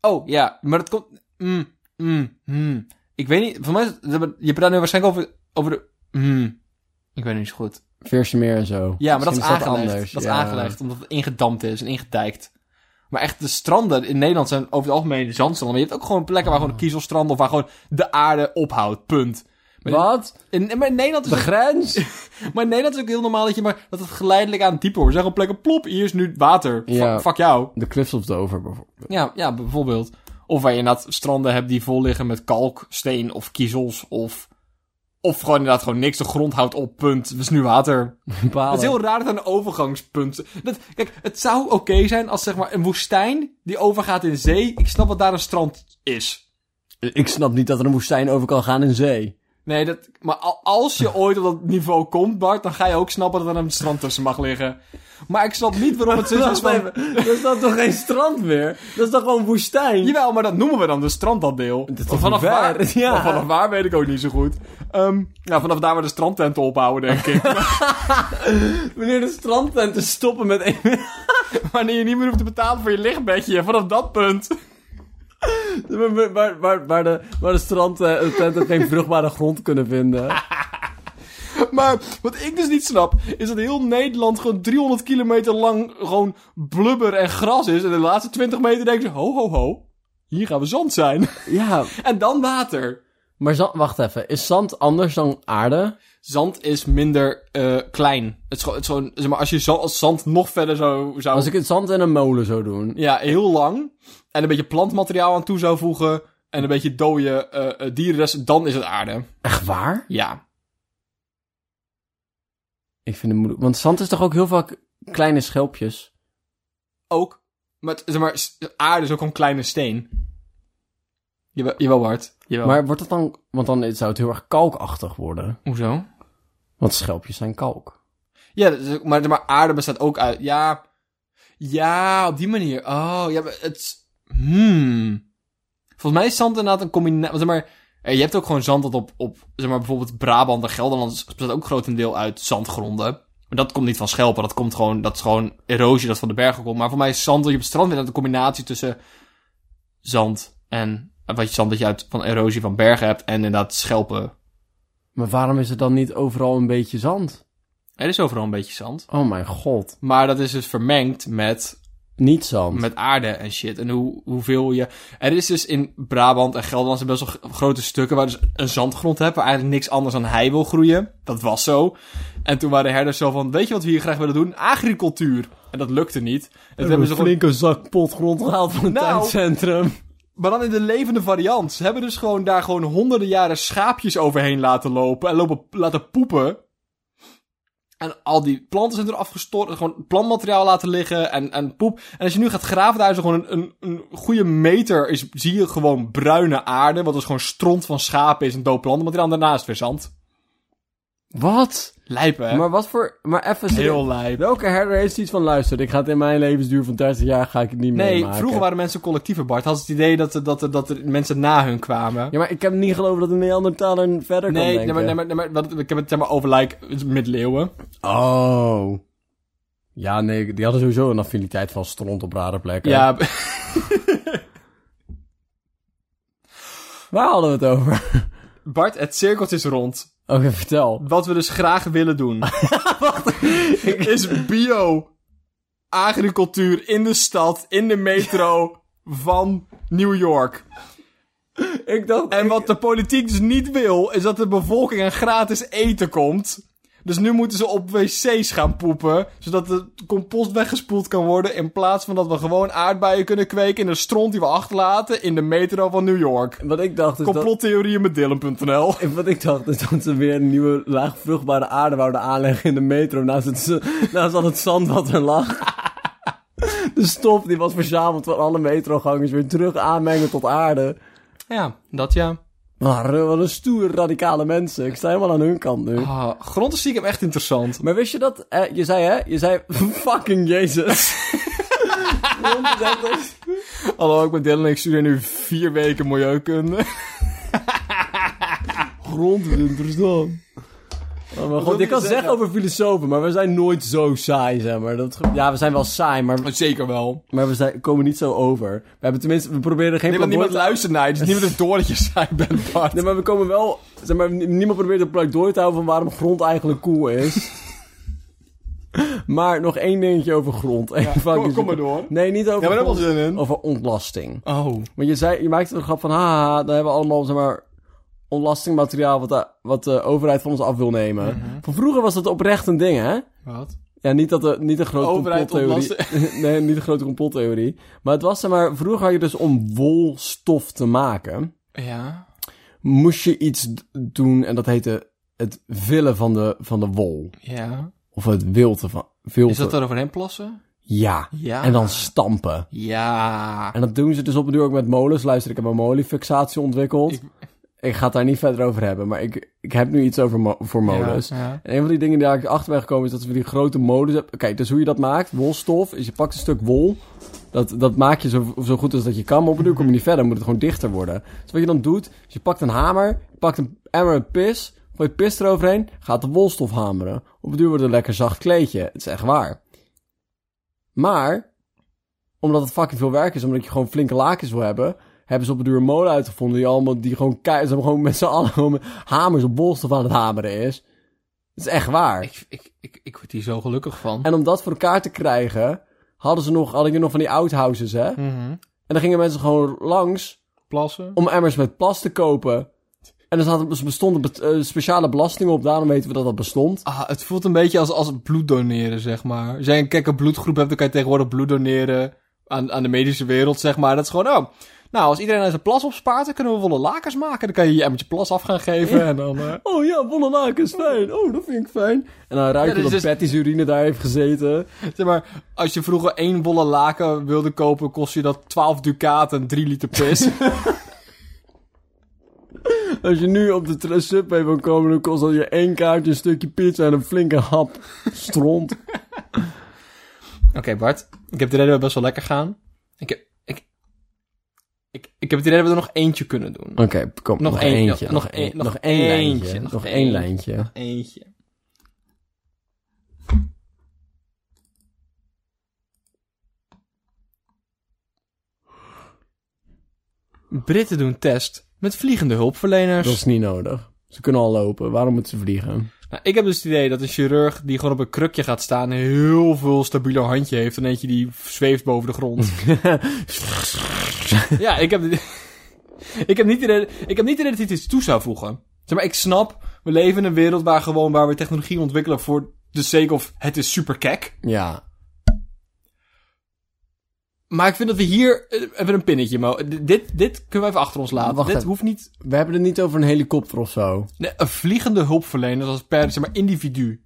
S2: Oh ja, maar dat komt. Mm, mm, mm. Ik weet niet, voor mij is het- je praat nu waarschijnlijk over, over de. Mm. Ik weet het niet zo goed.
S1: Veersemeer en zo.
S2: Ja, maar dat is
S1: Misschien
S2: aangelegd. dat is
S1: ja.
S2: aangelegd, omdat het ingedampt is en ingedijkt. Maar echt, de stranden in Nederland zijn over het algemeen zandstranden. Maar je hebt ook gewoon plekken waar gewoon kiezelstranden of waar gewoon de aarde ophoudt. Punt. Maar in-
S1: Wat?
S2: In, maar, in Nederland is
S1: De
S2: ook,
S1: grens?
S2: maar in Nederland is ook heel normaal dat, je maar, dat het geleidelijk aan dieper wordt. Zeg gewoon plekken, plop, hier is nu water. Fuck-
S1: Ja.
S2: Fuck jou.
S1: De Cliffs of Dover bijvoorbeeld.
S2: Ja, ja, bijvoorbeeld. Of waar je inderdaad stranden hebt die vol liggen met kalk, steen of kiezels of... Of gewoon inderdaad gewoon niks, de grond houdt op, punt. Het is nu water. Het
S1: Bepalen.
S2: is heel raar dat er een overgangspunt... Dat, kijk, het zou oké zijn als zeg maar een woestijn die overgaat in zee. Ik snap dat daar een strand is.
S1: Ik snap niet dat er een woestijn over kan gaan in zee.
S2: Nee, dat, maar al- als je ooit op dat niveau komt, Bart, dan ga je ook snappen dat er een strand tussen mag liggen. Maar ik snap niet waarom het zo is
S1: Dus Wacht
S2: van...
S1: even, dat is dan toch geen strand meer? Dat is toch gewoon woestijn?
S2: Jawel, maar dat noemen we dan de strandaddeel.
S1: is
S2: Want
S1: toch
S2: vanaf
S1: niet waar?
S2: waar?
S1: Ja.
S2: want Vanaf waar weet ik ook niet zo goed. Ehm, ja, vanaf daar waar de strandtenten ophouden, denk ik.
S1: Wanneer de strandtenten stoppen met één...
S2: Wanneer je niet meer hoeft te betalen voor je lichtbedje, vanaf dat punt.
S1: waar, waar, waar, waar de, waar de strandtenten geen vruchtbare grond kunnen vinden.
S2: Maar wat ik dus niet snap, is dat heel Nederland gewoon 300 kilometer lang gewoon blubber en gras is. En de laatste 20 meter denken ze, ho ho ho, hier gaan we zand zijn.
S1: Ja,
S2: en dan water.
S1: maar zand, wacht even. Is zand anders dan aarde?
S2: Zand is minder eh, klein. Het is gewoon, het is gewoon- zeg maar, als je zo, als zand nog verder zou... zou
S1: Als ik het zand in een molen zou doen.
S2: Ja, heel lang. En een beetje plantmateriaal aan toe zou voegen. En een beetje dode eh, eh, dierenresten, dan is het aarde.
S1: Echt waar?
S2: Ja.
S1: Ik vind het moeilijk. Want zand is toch ook heel vaak kleine schelpjes?
S2: Ook. Maar, het- zeg maar, s- aarde is ook een kleine steen. Jawel, jawel Bart. Jawel.
S1: Maar wordt dat dan... Want dan zou het heel erg kalkachtig worden.
S2: Hoezo?
S1: Want schelpjes zijn kalk.
S2: Ja, dat is ook- maar, maar aarde bestaat ook uit. Ja. Ja, op die manier. Oh, ja, maar het. Hmm. Volgens mij is zand inderdaad een combinatie. Zeg maar, eh, je hebt ook gewoon zand dat op, op. Zeg maar bijvoorbeeld Brabant en Gelderland is- bestaat ook grotendeel uit zandgronden. Maar dat komt niet van schelpen. Dat komt gewoon. Dat is gewoon erosie dat van de bergen komt. Maar voor mij is zand dat je op het strand vindt. Dat een combinatie tussen zand en. eh, Wat je zand dat je uit van erosie van bergen hebt. En inderdaad schelpen.
S1: Maar waarom is er dan niet overal een beetje zand?
S2: Er is overal een beetje zand.
S1: Oh mijn god.
S2: Maar dat is dus vermengd met
S1: Niet zand.
S2: Met aarde en shit. En hoe, hoeveel je. Er is dus in Brabant en Gelderland zijn best wel g- grote stukken waar dus een zandgrond hebben. Waar eigenlijk niks anders dan hei wil groeien. Dat was zo. En toen waren de herders zo van: Weet je wat we hier graag willen doen? Agricultuur. En dat lukte niet. En toen hebben ze gewoon-
S1: flinke zak potgrond gehaald van het
S2: Nou.
S1: tuincentrum.
S2: Maar dan in de levende variant. Ze hebben dus gewoon daar gewoon honderden jaren schaapjes overheen laten lopen. En lopen, laten poepen. En al die planten zijn er afgestort. en Gewoon plantmateriaal laten liggen en, en poep. En als je nu gaat graven, daar is er gewoon een, een, een goede meter. Is, zie je gewoon bruine aarde. Wat dus gewoon stront van schapen is en dood plantenmateriaal. En daarnaast weer zand.
S1: Wat?
S2: Lijpen, hè?
S1: Maar wat voor... Maar even...
S2: Heel lijp.
S1: Welke herder heeft iets van, luister, ik ga het in mijn levensduur van 30 jaar ga ik het niet
S2: Nee,
S1: meemaken.
S2: vroeger waren mensen collectieven, Bart. Hadden ze het idee dat, er- dat, er- dat er mensen na hun kwamen.
S1: Ja, maar ik heb niet geloven dat een Neandertaler verder kan
S2: Nee, nee,
S1: denken.
S2: maar, nee, maar, nee, maar, wat- ik heb het zeg maar over like, middeleeuwen.
S1: Oh. Ja, nee, die hadden sowieso een affiniteit van stront op rare plekken.
S2: Ja, b-
S1: Waar hadden we het over?
S2: Bart, het cirkeltje is rond.
S1: Oké, vertel.
S2: Wat we dus graag willen doen. Is bio. Agricultuur in de stad, in de metro van New York.
S1: Ik dacht...
S2: En wat de politiek dus niet wil, is dat de bevolking aan gratis eten komt. Dus nu moeten ze op wc's gaan poepen, zodat de compost weggespoeld kan worden. In plaats van dat we gewoon aardbeien kunnen kweken in de stront die we achterlaten in de metro van New York.
S1: Wat ik dacht is dat...
S2: Complottheorieën met Dylan.nl.
S1: Wat ik dacht is dat ze weer een nieuwe laag vruchtbare aarde wouden aanleggen in de metro naast, het, naast al het zand wat er lag. De stof die was verzameld van alle metrogangers weer terug aanmengen tot aarde.
S2: Ja, dat ja.
S1: Maar eh, wat een stoer radicale mensen. Ik sta helemaal aan hun kant nu.
S2: Ah, grond is stiekem echt interessant.
S1: Maar wist je dat? eh, je zei hè? Je zei fucking Jezus. Waarom is dat dus?
S2: Hallo, ik ben Dylan en ik studeer nu vier weken milieukunde.
S1: Grond is interessant. Oh mijn god,
S2: wil
S1: je
S2: je
S1: kan
S2: zeggen?
S1: zeggen over filosofen, maar we zijn nooit zo saai, zeg maar. Dat, ge- ja, we zijn wel saai, maar,
S2: Zeker wel.
S1: maar we zijn, komen niet zo over. We hebben tenminste, we proberen geen
S2: Niemand, niemand
S1: pleidooi te-
S2: luistert naar je, dus niemand heeft door dat je saai bent, Bart.
S1: Nee, maar we komen wel, zeg maar, ni- niemand probeert een pleidooi te houden van waarom grond eigenlijk cool is. maar nog één dingetje over grond.
S2: kom, kom maar door.
S1: Nee, niet over
S2: Ja, maar daar
S1: grond,
S2: hebben we zin in.
S1: over ontlasting.
S2: Oh.
S1: Want je, zei, je maakte er een grap van, haha, dan hebben we allemaal, zeg maar, ontlastingmateriaal wat de, wat de overheid van ons af wil nemen.
S2: Mhm.
S1: Van vroeger was dat oprecht een ding, hè?
S2: Wat?
S1: Ja, niet dat er, niet een grote
S2: Overheid
S1: complottheorie. nee, niet een grote complottheorie. Maar het was, zeg maar, vroeger had je dus om wolstof te maken,
S2: Ja.
S1: moest je iets d- doen en dat heette het villen van de, van de wol.
S2: Ja.
S1: Of het wilten van, vilten.
S2: Is dat dan overheen plassen?
S1: Ja.
S2: Ja.
S1: En dan stampen.
S2: Ja.
S1: En dat doen ze dus op de duur ook met molens. Luister, ik heb een molenfixatie ontwikkeld. Ik,
S2: Ik-
S1: ga het daar niet verder over hebben, maar ik, ik heb nu iets over mo- voor molens.
S2: Ja, ja.
S1: En een van die dingen die ik achter ben gekomen is dat we die grote molens hebben. Oké, dus hoe je dat maakt, wolstof, is je pakt een stuk wol. Dat, dat maak je zo, zo goed als dat je kan, maar op een duur kom je niet verder, moet het gewoon dichter worden. Dus wat je dan doet, is je pakt een hamer, je pakt een emmer met pis, gooi pis eroverheen, gaat de wolstof hameren. Op een duur wordt het een lekker zacht kleedje. Het is echt waar. Maar, omdat het fucking veel werk is, omdat je gewoon flinke lakens wil hebben, hebben ze op een duur een molen uitgevonden die allemaal, die gewoon, kei- ze hebben gewoon met z'n allen gewoon met hamers op wolstof aan het hameren is. Het is echt waar.
S2: Ik, ik, ik, ik word hier zo gelukkig van.
S1: En om dat voor elkaar te krijgen, hadden ze nog, hadden je nog van die outhouses, hè?
S2: Mhm.
S1: En dan gingen mensen gewoon langs
S2: Plassen?
S1: om emmers met plas te kopen. En er zaten- er bestonden bet- eh, speciale belastingen op, daarom weten we dat dat bestond.
S2: Ah, het voelt een beetje als, als bloed doneren, zeg maar. Als jij een kekke bloedgroep hebt, dan kan je tegenwoordig bloed doneren aan, aan de medische wereld, zeg maar. Dat is gewoon, oh, nou, als iedereen aan zijn plas opspaart, dan kunnen we wollen lakens maken. Dan kan je je emmertje plas af gaan geven en dan... eh,
S1: Oh ja, wollen laken is fijn. Oh, dat vind ik fijn. En dan ruik
S2: Ja,
S1: je
S2: dus
S1: dat
S2: is-
S1: Patty's urine daar heeft gezeten.
S2: zeg maar, als je vroeger één wollen laken wilde kopen, kost je dat 12 ducaten en 3 liter pis.
S1: Als je nu op de tra- subway wil komen, dan kost dat je één kaartje, een stukje pizza en een flinke hap stront.
S2: Oké, Bart. Ik heb de reden best wel lekker gaan. Ik heb... Ik, ik, ik heb het idee dat we er nog eentje kunnen doen.
S1: Oké, kom.
S2: Nog
S1: Nog
S2: één,
S1: eentje.
S2: nog
S1: Nog
S2: één,
S1: één
S2: nog
S1: nog één
S2: eentje,
S1: lijntje.
S2: nog
S1: Nog één
S2: één.
S1: lijntje.
S2: Eentje. Britten doen test met vliegende
S1: Dat
S2: hulpverleners.
S1: is niet nodig. Ze kunnen al lopen. Waarom moeten ze vliegen?
S2: Nou, ik heb dus het idee dat een chirurg die gewoon op een krukje gaat staan... een heel veel stabieler handje heeft dan eentje die zweeft boven de grond. ja, ik heb, ik heb niet het idee, ik heb niet het idee dat hij iets toe zou voegen. Zeg maar, ik snap, we leven in een wereld waar, gewoon, waar we technologie ontwikkelen voor de sake of het is super kek.
S1: Ja.
S2: Maar ik vind dat we hier eh, even een pinnetje... Mo D- dit, dit kunnen we even achter ons laten.
S1: Wacht
S2: dit
S1: even.
S2: hoeft niet...
S1: We hebben het niet over een helikopter of zo.
S2: Nee, een vliegende hulpverlener als per zeg maar, individu.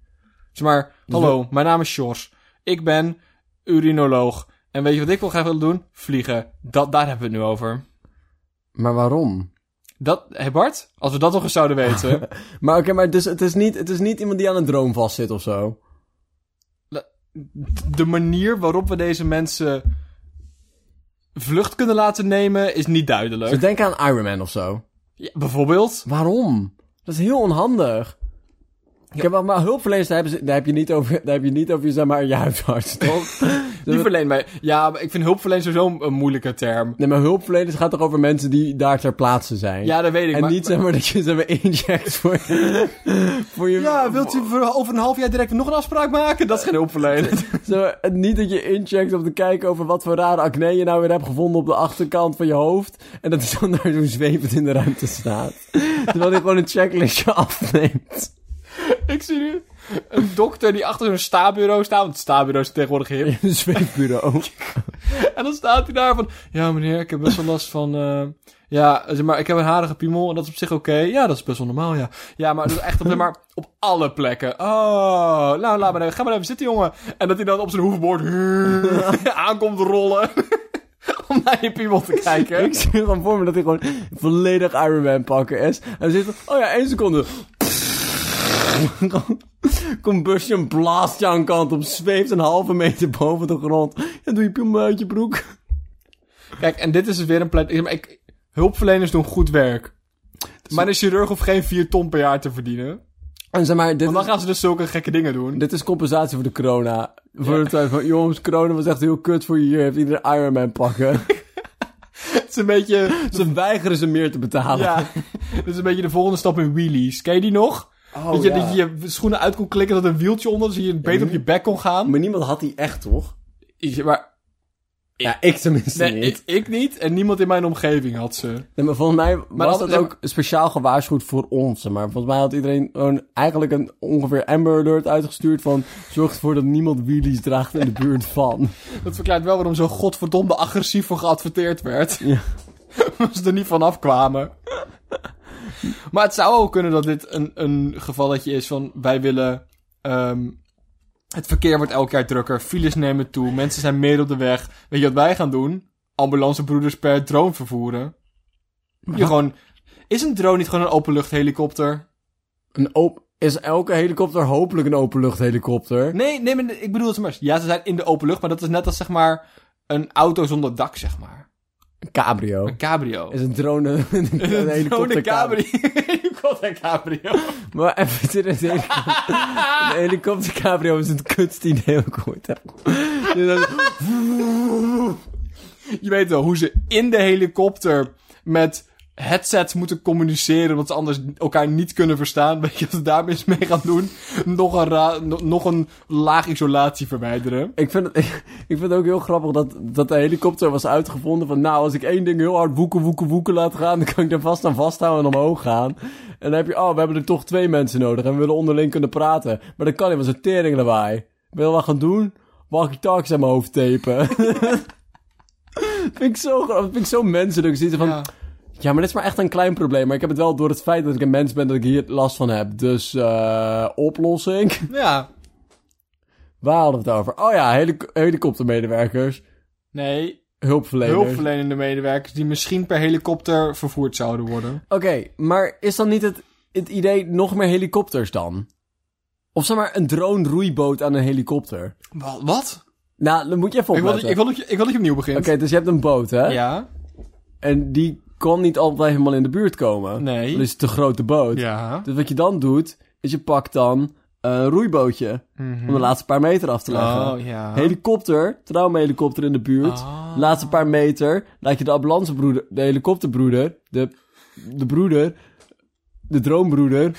S2: Zeg maar,
S1: Dus
S2: hallo, mijn naam is Sjors. Ik ben urinoloog. En weet je wat ik wil graag willen doen? Vliegen. Dat, daar hebben we het nu over.
S1: Maar waarom?
S2: Dat, hé Bart, als we dat toch eens zouden weten.
S1: Maar oké, maar dus, het, is niet, het is niet iemand die aan een droom vastzit of zo.
S2: de manier waarop we deze mensen vlucht kunnen laten nemen is niet
S1: Dus
S2: duidelijk.
S1: denk aan Iron Man of zo.
S2: Ja, bijvoorbeeld.
S1: Waarom? Dat is heel onhandig. Oké, maar, maar hulpverleners, daar, hebben ze- daar heb je niet over, daar heb je, niet over zeg maar, je huisarts, toch?
S2: Die verleent mij. Ja, maar ik vind hulpverlening sowieso een, een moeilijke term.
S1: nee, maar hulpverleners gaat toch over mensen die daar ter plaatse zijn?
S2: Ja, dat weet ik.
S1: En
S2: maar-
S1: niet zeg maar dat je zeg maar inject voor, voor je...
S2: Ja, wilt u voor- over een half jaar direct nog een afspraak maken? Dat is geen hulpverlening.
S1: Zeg maar, niet dat je incheckt om te kijken over wat voor rare acne je nou weer hebt gevonden op de achterkant van je hoofd. En dat is dan daar zo zwevend in de ruimte staat. Terwijl hij gewoon een checklistje afneemt.
S2: Ik zie nu een dokter die achter zo'n stabureau staat. Want het stabureau is tegenwoordig hip.
S1: In een zweefbureau.
S2: En dan staat hij daar van... Ja, meneer, ik heb best wel last van... eh, ja, zeg maar, ik heb een harige piemel en dat is op zich oké. Ja, dat is best wel normaal, ja. Ja, maar dat is echt op, zeg maar, op alle plekken. Oh, nou, laat maar even. Ga maar even zitten, jongen. En dat hij dan op zijn hoefboord aankomt rollen. om naar je piemel te kijken.
S1: Ik zie gewoon voor me dat hij gewoon volledig Iron Man pakken is. En dan zit er, oh ja, één seconde. Combustion blaast je aan kant op, zweeft een halve meter boven de grond. Ja, doe je piemel uit je broek.
S2: Kijk, en dit is dus weer een pleit... ik- maar Ik, hulpverleners doen goed werk. Maar een chirurg hoeft geen 4 ton per jaar te verdienen.
S1: En zeg maar, dit
S2: Want dan
S1: is,
S2: gaan ze dus zulke gekke dingen doen.
S1: dit is compensatie voor de corona. Voor de tijd van, jongens, corona was echt heel kut voor je hier. Heeft iedereen Iron Man pakken.
S2: Het is een beetje...
S1: ze weigeren ze meer te betalen.
S2: Ja, dat is een beetje de volgende stap in wheelies. Ken je die nog? dat,
S1: Oh,
S2: je, dat je je schoenen uit kon klikken, dat er een wieltje onder, zodat je beter op je bek kon gaan.
S1: Maar niemand had die echt, toch?
S2: Ik- Maar
S1: Ja, ik tenminste
S2: nee,
S1: niet.
S2: ik, ik niet en niemand in mijn omgeving had ze.
S1: Nee, maar volgens mij was
S2: dat-
S1: dat
S2: ja,
S1: ook speciaal gewaarschuwd voor ons. zeg Maar volgens mij had iedereen gewoon eigenlijk een ongeveer Amber Alert uitgestuurd van... Zorg ervoor dat niemand wheelies draagt in de buurt van.
S2: Dat verklaart wel waarom zo godverdomme agressief voor geadverteerd werd.
S1: Ja.
S2: Omdat ze er niet van afkwamen. maar het zou ook kunnen dat dit een, een gevalletje is van wij willen... ehm, het verkeer wordt elk jaar drukker, files nemen toe, mensen zijn meer op de weg. Weet je wat wij gaan doen? Ambulancebroeders per drone vervoeren. Je gewoon... Is een drone niet gewoon een openluchthelikopter?
S1: Een op is elke helikopter hopelijk een openluchthelikopter?
S2: Nee, nee, maar ik bedoel het maar. Ja, ze zijn in de openlucht, maar dat is net als zeg maar een auto zonder dak, zeg maar.
S1: Een cabrio.
S2: Een cabrio.
S1: Is een drone een,
S2: Een
S1: helikopter cabrio.
S2: Helikopter cabrio.
S1: Maar even serieus, een helikopter- een helikopter cabrio is het kutste idee dat ik ooit heb. Dus dat-
S2: Je weet wel hoe ze in de helikopter met headsets moeten communiceren, want ze anders elkaar niet kunnen verstaan. Weet je wat ze daarmee eens mee gaan doen? Nog een, ra- no- nog een laag isolatie verwijderen.
S1: Ik vind, het, ik vind het ook heel grappig dat, dat de helikopter was uitgevonden van... Nou, als ik één ding heel hard woeken, woeken, woeken laat gaan... dan kan ik daar vast aan vasthouden en omhoog gaan. En dan heb je... Oh, we hebben er toch twee mensen nodig en we willen onderling kunnen praten. Maar dat kan niet, want zo'n tering lawaai. Wil je wat gaan doen? Walkie-talkies aan mijn hoofd tapen. vind ik zo grappig. Dat vind ik zo menselijk. Zoiets van... Ja.
S2: Ja.
S1: maar dit is maar echt een klein probleem. Maar ik heb het wel door het feit dat ik een mens ben dat ik hier last van heb. Dus, eh oplossing...
S2: ja.
S1: Waar hadden we het over? Oh ja, helico- helikoptermedewerkers.
S2: Nee,
S1: Hulpverleners.
S2: hulpverlenende medewerkers die misschien per helikopter vervoerd zouden worden.
S1: Oké, maar is dan niet het, het idee nog meer helikopters dan? Of zeg maar een drone roeiboot aan een helikopter?
S2: Wat? wat?
S1: Nou, dan moet je even
S2: Ik, wil dat
S1: opletten.
S2: je, ik, wil dat je, ik wil dat je opnieuw
S1: Oké,
S2: begint.
S1: dus je hebt een boot, hè?
S2: Ja.
S1: En die kon niet altijd helemaal in de buurt komen.
S2: Nee.
S1: Dat is te grote boot.
S2: Ja.
S1: Dus wat je dan doet, is je pakt dan een roeibootje.
S2: Mhm.
S1: Om de laatste paar meter af te leggen.
S2: Hmm. Oh, ja.
S1: Helikopter, traumahelikopter in de buurt.
S2: Ah.
S1: Laatste paar meter. Laat je de ambulancebroeder, de helikopterbroeder, de, de broeder, de droombroeder.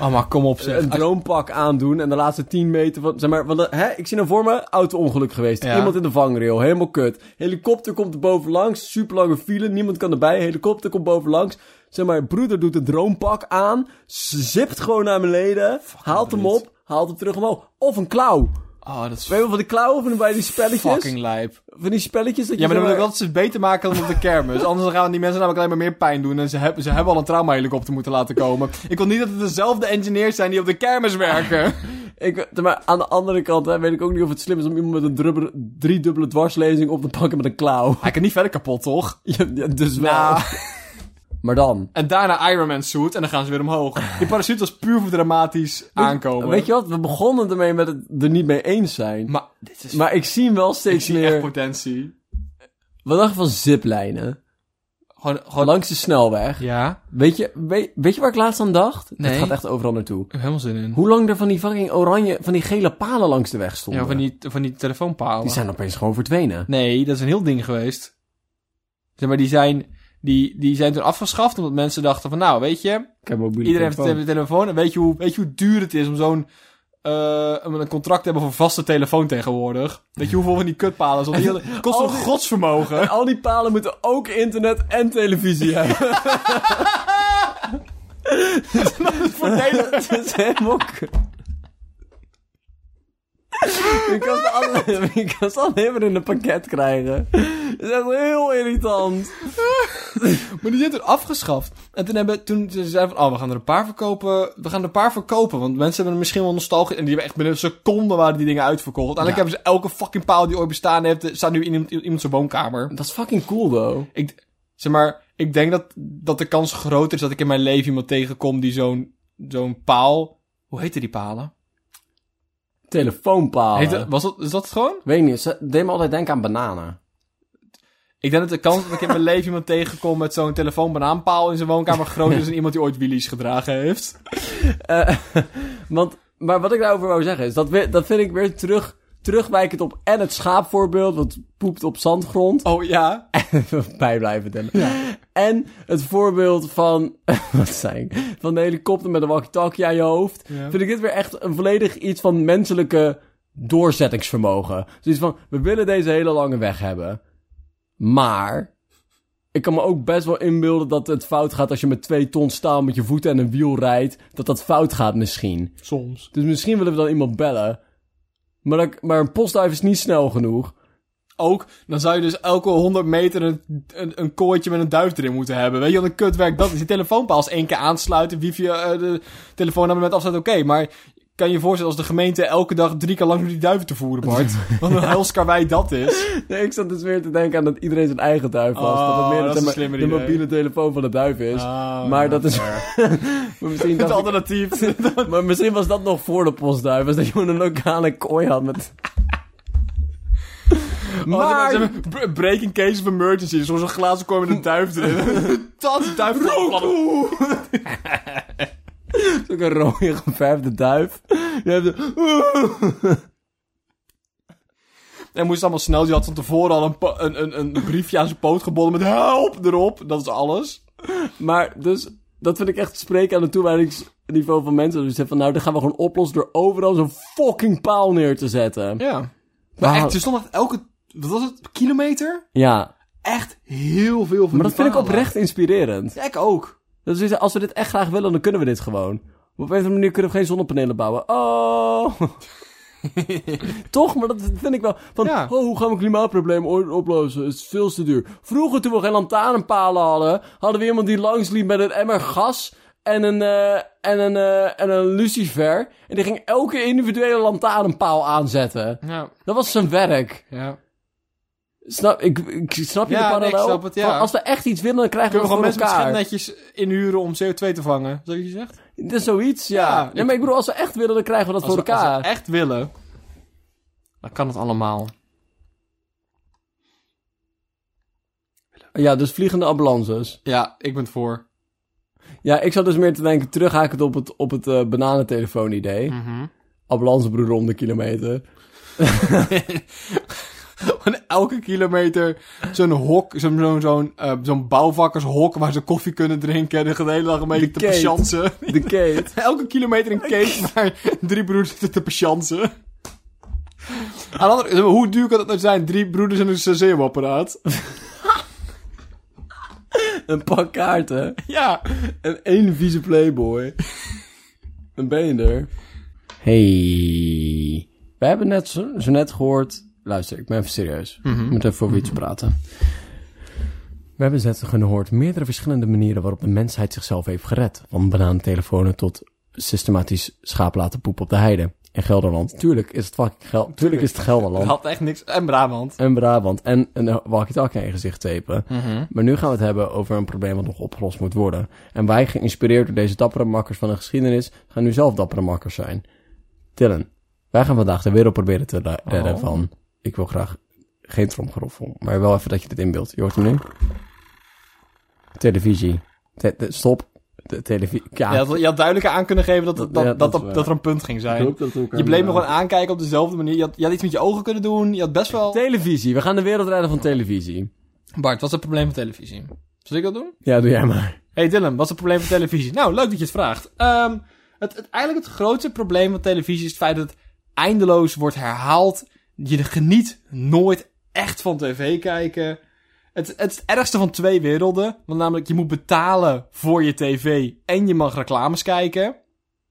S2: Oh, maar kom op zeg.
S1: een
S2: Als-
S1: droompak aandoen en de laatste 10 meter van, zeg maar, want, hè, ik zie nou voor me auto-ongeluk geweest.
S2: Ja.
S1: Iemand in de vangrail, helemaal kut. Helikopter komt er bovenlangs, super lange file, niemand kan erbij. Helikopter komt bovenlangs. Zeg maar, broeder doet een droompak aan, z- zipt gewoon naar beneden, haalt hem
S2: bruut.
S1: op, haalt hem terug omhoog. Of een klauw.
S2: Oh, dat
S1: Weet
S2: is
S1: je wel van die klauwen van bij die spelletjes?
S2: fucking lijp.
S1: Van die spelletjes dat je
S2: Ja, maar
S1: zeg
S2: dan moet ik
S1: maar-
S2: altijd iets beter maken dan op de kermis. Anders dan gaan die mensen namelijk alleen maar meer pijn doen. En ze hebben, ze hebben al een traumahelikopter moeten laten komen. Ik wil niet dat het dezelfde engineers zijn die op de kermis werken.
S1: Ik, zeg maar aan de andere kant hè, weet ik ook niet of het slim is om iemand met een drubbele, driedubbele dwarslezing op te pakken met een klauw.
S2: Hij kan niet verder kapot, toch?
S1: Ja, ja, dus wel.
S2: Nou.
S1: Maar dan.
S2: En daarna Iron Man suit en dan gaan ze weer omhoog. Die parachute was puur voor dramatisch aankomen.
S1: Weet je wat? We begonnen ermee met het er niet mee eens zijn. Maar,
S2: Maar dit is
S1: ik zie hem wel
S2: ik
S1: steeds
S2: zie echt
S1: meer...
S2: potentie.
S1: Wat dacht je van ziplijnen?
S2: Gewoon, gewoon...
S1: Langs de snelweg.
S2: Ja,
S1: Weet, je, weet, weet je waar ik laatst aan dacht?
S2: Nee.
S1: Het gaat echt overal naartoe.
S2: ik heb helemaal zin in.
S1: Hoe lang er van die fucking oranje, van die gele palen langs de weg stonden.
S2: Ja, van die, van die telefoonpalen.
S1: Die zijn opeens gewoon verdwenen.
S2: Nee, dat is een heel ding geweest. Zeg maar, die zijn, die, die zijn toen afgeschaft omdat mensen dachten van... Nou, weet je,
S1: Ik heb mobiele
S2: iedereen heeft
S1: telefoon.
S2: een telefoon. En weet je hoe, weet je hoe duur het is om zo'n... eh, om een contract te hebben voor vaste telefoon tegenwoordig. Weet je hoeveel van die kutpalen... Zo'n hele- kost
S1: al
S2: een
S1: die-
S2: godsvermogen.
S1: Al die palen moeten ook internet en televisie hebben.
S2: voor tele-
S1: Het is helemaal kut. Je kan ze alle- je kan ze al helemaal in een pakket krijgen. Dat is echt heel irritant.
S2: Maar die zijn toen afgeschaft. En toen, hebben, toen ze zeiden van, oh, we gaan er een paar verkopen. We gaan er een paar verkopen, want mensen hebben er misschien wel nostalgie. En die hebben echt binnen een seconde waren die dingen uitverkocht. Uiteindelijk hebben ze elke fucking paal die ooit bestaan heeft, eh, staat nu in iemand, in iemand zijn woonkamer.
S1: Dat is fucking cool, though.
S2: Ik, zeg maar, ik denk dat, dat de kans groter is dat ik in mijn leven iemand tegenkom die zo'n zo'n paal... Hoe heette die palen?
S1: Telefoonpalen.
S2: Heette- was dat, is dat het gewoon?
S1: Weet niet, ze deed me altijd denken aan bananen.
S2: Ik denk dat de kans dat ik in mijn leven iemand tegenkom met zo'n telefoonbanaanpaal in zijn woonkamer groter is dan iemand die ooit wheelies gedragen heeft.
S1: Eh, want, maar wat ik daarover wou zeggen is, dat, we- dat vind ik weer terug, terugwijkend op en het schaapvoorbeeld, wat poept op zandgrond.
S2: Oh ja?
S1: bij blijven tellen. En het voorbeeld van, wat zijn, van de helikopter met een walkie-talkie aan je hoofd.
S2: Ja.
S1: Vind ik dit weer echt een volledig iets van menselijke doorzettingsvermogen. Dus van, we willen deze hele lange weg hebben. Maar, ik kan me ook best wel inbeelden dat het fout gaat als je met twee ton staal met je voeten en een wiel rijdt. Dat dat fout gaat misschien.
S2: Soms.
S1: Dus misschien willen we dan iemand bellen. Maar, dat- maar een postduif is niet snel genoeg.
S2: Ook, dan zou je dus elke 100 meter een, een, een kooitje met een duif erin moeten hebben. Weet je wat een kutwerk dat is? Die telefoonpaal is één keer aansluiten, wifi, eh, de telefoonabonnement afsluiten, oké. maar kan je je voorstellen als de gemeente elke dag drie keer lang door die duiven te voeren, Bart? Wat een helskarwei dat is.
S1: Nee, ik zat dus weer te denken aan dat iedereen zijn eigen duif was.
S2: Oh,
S1: dat het meer
S2: dat is
S1: zeg
S2: een
S1: maar,
S2: slimmer
S1: de
S2: idee. Oh,
S1: mobiele telefoon van de duif is. maar dat is... maar, misschien
S2: Het
S1: dacht ik-
S2: alternatief.
S1: maar misschien was dat nog voor de postduif. Was dat je gewoon een lokale kooi had met... Oh,
S2: Maar...
S1: maar...
S2: breaking case of emergency. Dus zo'n glazen kooi met een duif erin. dat is duif.
S1: Ook een rode geverfde duif. Je hebt een-
S2: En moest allemaal snel. Die had van tevoren al een, pa- een, een, een briefje aan zijn poot gebonden met help erop. Dat is alles.
S1: Maar dus... Dat vind ik echt spreken aan het toewijdingsniveau van mensen. Dus je zegt van, nou, dat gaan we gewoon oplossen door overal zo'n fucking paal neer te zetten.
S2: Ja. Maar
S1: Wauw.
S2: echt, dus- er stond echt elke, wat was het, kilometer?
S1: Ja,
S2: Echt heel veel van
S1: maar dat vind ik oprecht inspirerend.
S2: Ja, ik ook.
S1: Dat is dus, als we dit echt graag willen, dan kunnen we dit gewoon. Maar op een of andere manier kunnen we geen zonnepanelen bouwen. Oh! Toch? Maar dat vind ik wel. Van,
S2: Ja.
S1: oh, hoe gaan we klimaatprobleem ooit oplossen? Het is veel te duur. Vroeger, toen we geen lantaarnpalen hadden, hadden we iemand die langsliep met een emmer gas en een, eh, en een, eh, en een lucifer. En die ging elke individuele lantaarnpaal aanzetten.
S2: Ja,
S1: Dat was zijn werk.
S2: ja.
S1: Snap, ik, ik snap je
S2: Ja,
S1: de
S2: nee, ik
S1: parallel?
S2: snap het, ja.
S1: Van, Als we echt iets willen, dan krijgen we,
S2: Kunnen we
S1: dat
S2: gewoon
S1: voor
S2: mensen met
S1: elkaar.
S2: schepnetjes inhuren om CO2 te vangen? Zo je zegt?
S1: Dat is zoiets, ja.
S2: Ja,
S1: Nee,
S2: ik-
S1: maar ik bedoel, als we echt willen, dan krijgen we dat
S2: Als
S1: voor
S2: we- als
S1: elkaar.
S2: we echt willen, dan kan het allemaal.
S1: Ja, dus vliegende ambulances.
S2: Ja, ik ben het voor.
S1: Ja, ik zat dus meer te denken, terughakend op het, op het eh,
S2: Mhm.
S1: bananentelefoon-idee. Ambulancebroeder om de kilometer.
S2: Gewoon elke kilometer zo'n hok, zo'n zo'n zo'n eh, zo'n bouwvakkershok waar ze koffie kunnen drinken en de hele dag een beetje
S1: De
S2: te
S1: Kate.
S2: patiansen.
S1: De Kate.
S2: Elke kilometer een cake waar drie broeders zitten te patiansen. Aan de andere- hoe duur kan dat nou zijn? Drie broeders en een saseo-apparaat.
S1: Een pak kaarten.
S2: Ja.
S1: En één vieze playboy. Dan ben je er. Hey. We hebben net zo, zo net gehoord... Luister, ik ben even serieus. Ik moet even over iets praten. Mhm. We hebben net gehoord meerdere verschillende manieren waarop de mensheid zichzelf heeft gered. Van banaantelefonen tot systematisch schaap laten poepen op de heide. In Gelderland. Tuurlijk is het fucking Gel Tuurlijk is het
S2: Dat
S1: Gelderland.
S2: had echt niks. En Brabant.
S1: En Brabant. En een walkie-talkie in gezicht tapen.
S2: Mhm.
S1: Maar nu gaan we het hebben over een probleem wat nog opgelost moet worden. En wij, geïnspireerd door deze dappere makkers van de geschiedenis, gaan nu zelf dappere makkers zijn. Tillen, wij gaan vandaag de wereld proberen te ra- redden
S2: Oh.
S1: van... Ik wil graag geen tromgeroffel, maar wel even dat je dit inbeeldt. Je hoort hem nu? Televisie. Te- te- stop. De televisie.
S2: Je had, je had duidelijk aan kunnen geven dat, dat,
S1: Dat- ja,
S2: dat,
S1: dat
S2: dat,
S1: is waar.
S2: dat er een punt ging zijn. Je bleef me gewoon aankijken op dezelfde manier. Je had, je had iets met je ogen kunnen doen. Je had best wel...
S1: Televisie. We gaan de wereld redden van televisie.
S2: Bart, wat is het probleem van televisie? Zal ik dat doen?
S1: Ja, doe jij maar.
S2: Hey Dylan, wat is het probleem van televisie? Nou, leuk dat je het vraagt. Ehm, het, het, eigenlijk het grootste probleem van televisie is het feit dat het eindeloos wordt herhaald. Je geniet nooit echt van tv kijken. Het, het is het ergste van twee werelden. Want namelijk, je moet betalen voor je tv en je mag reclames kijken.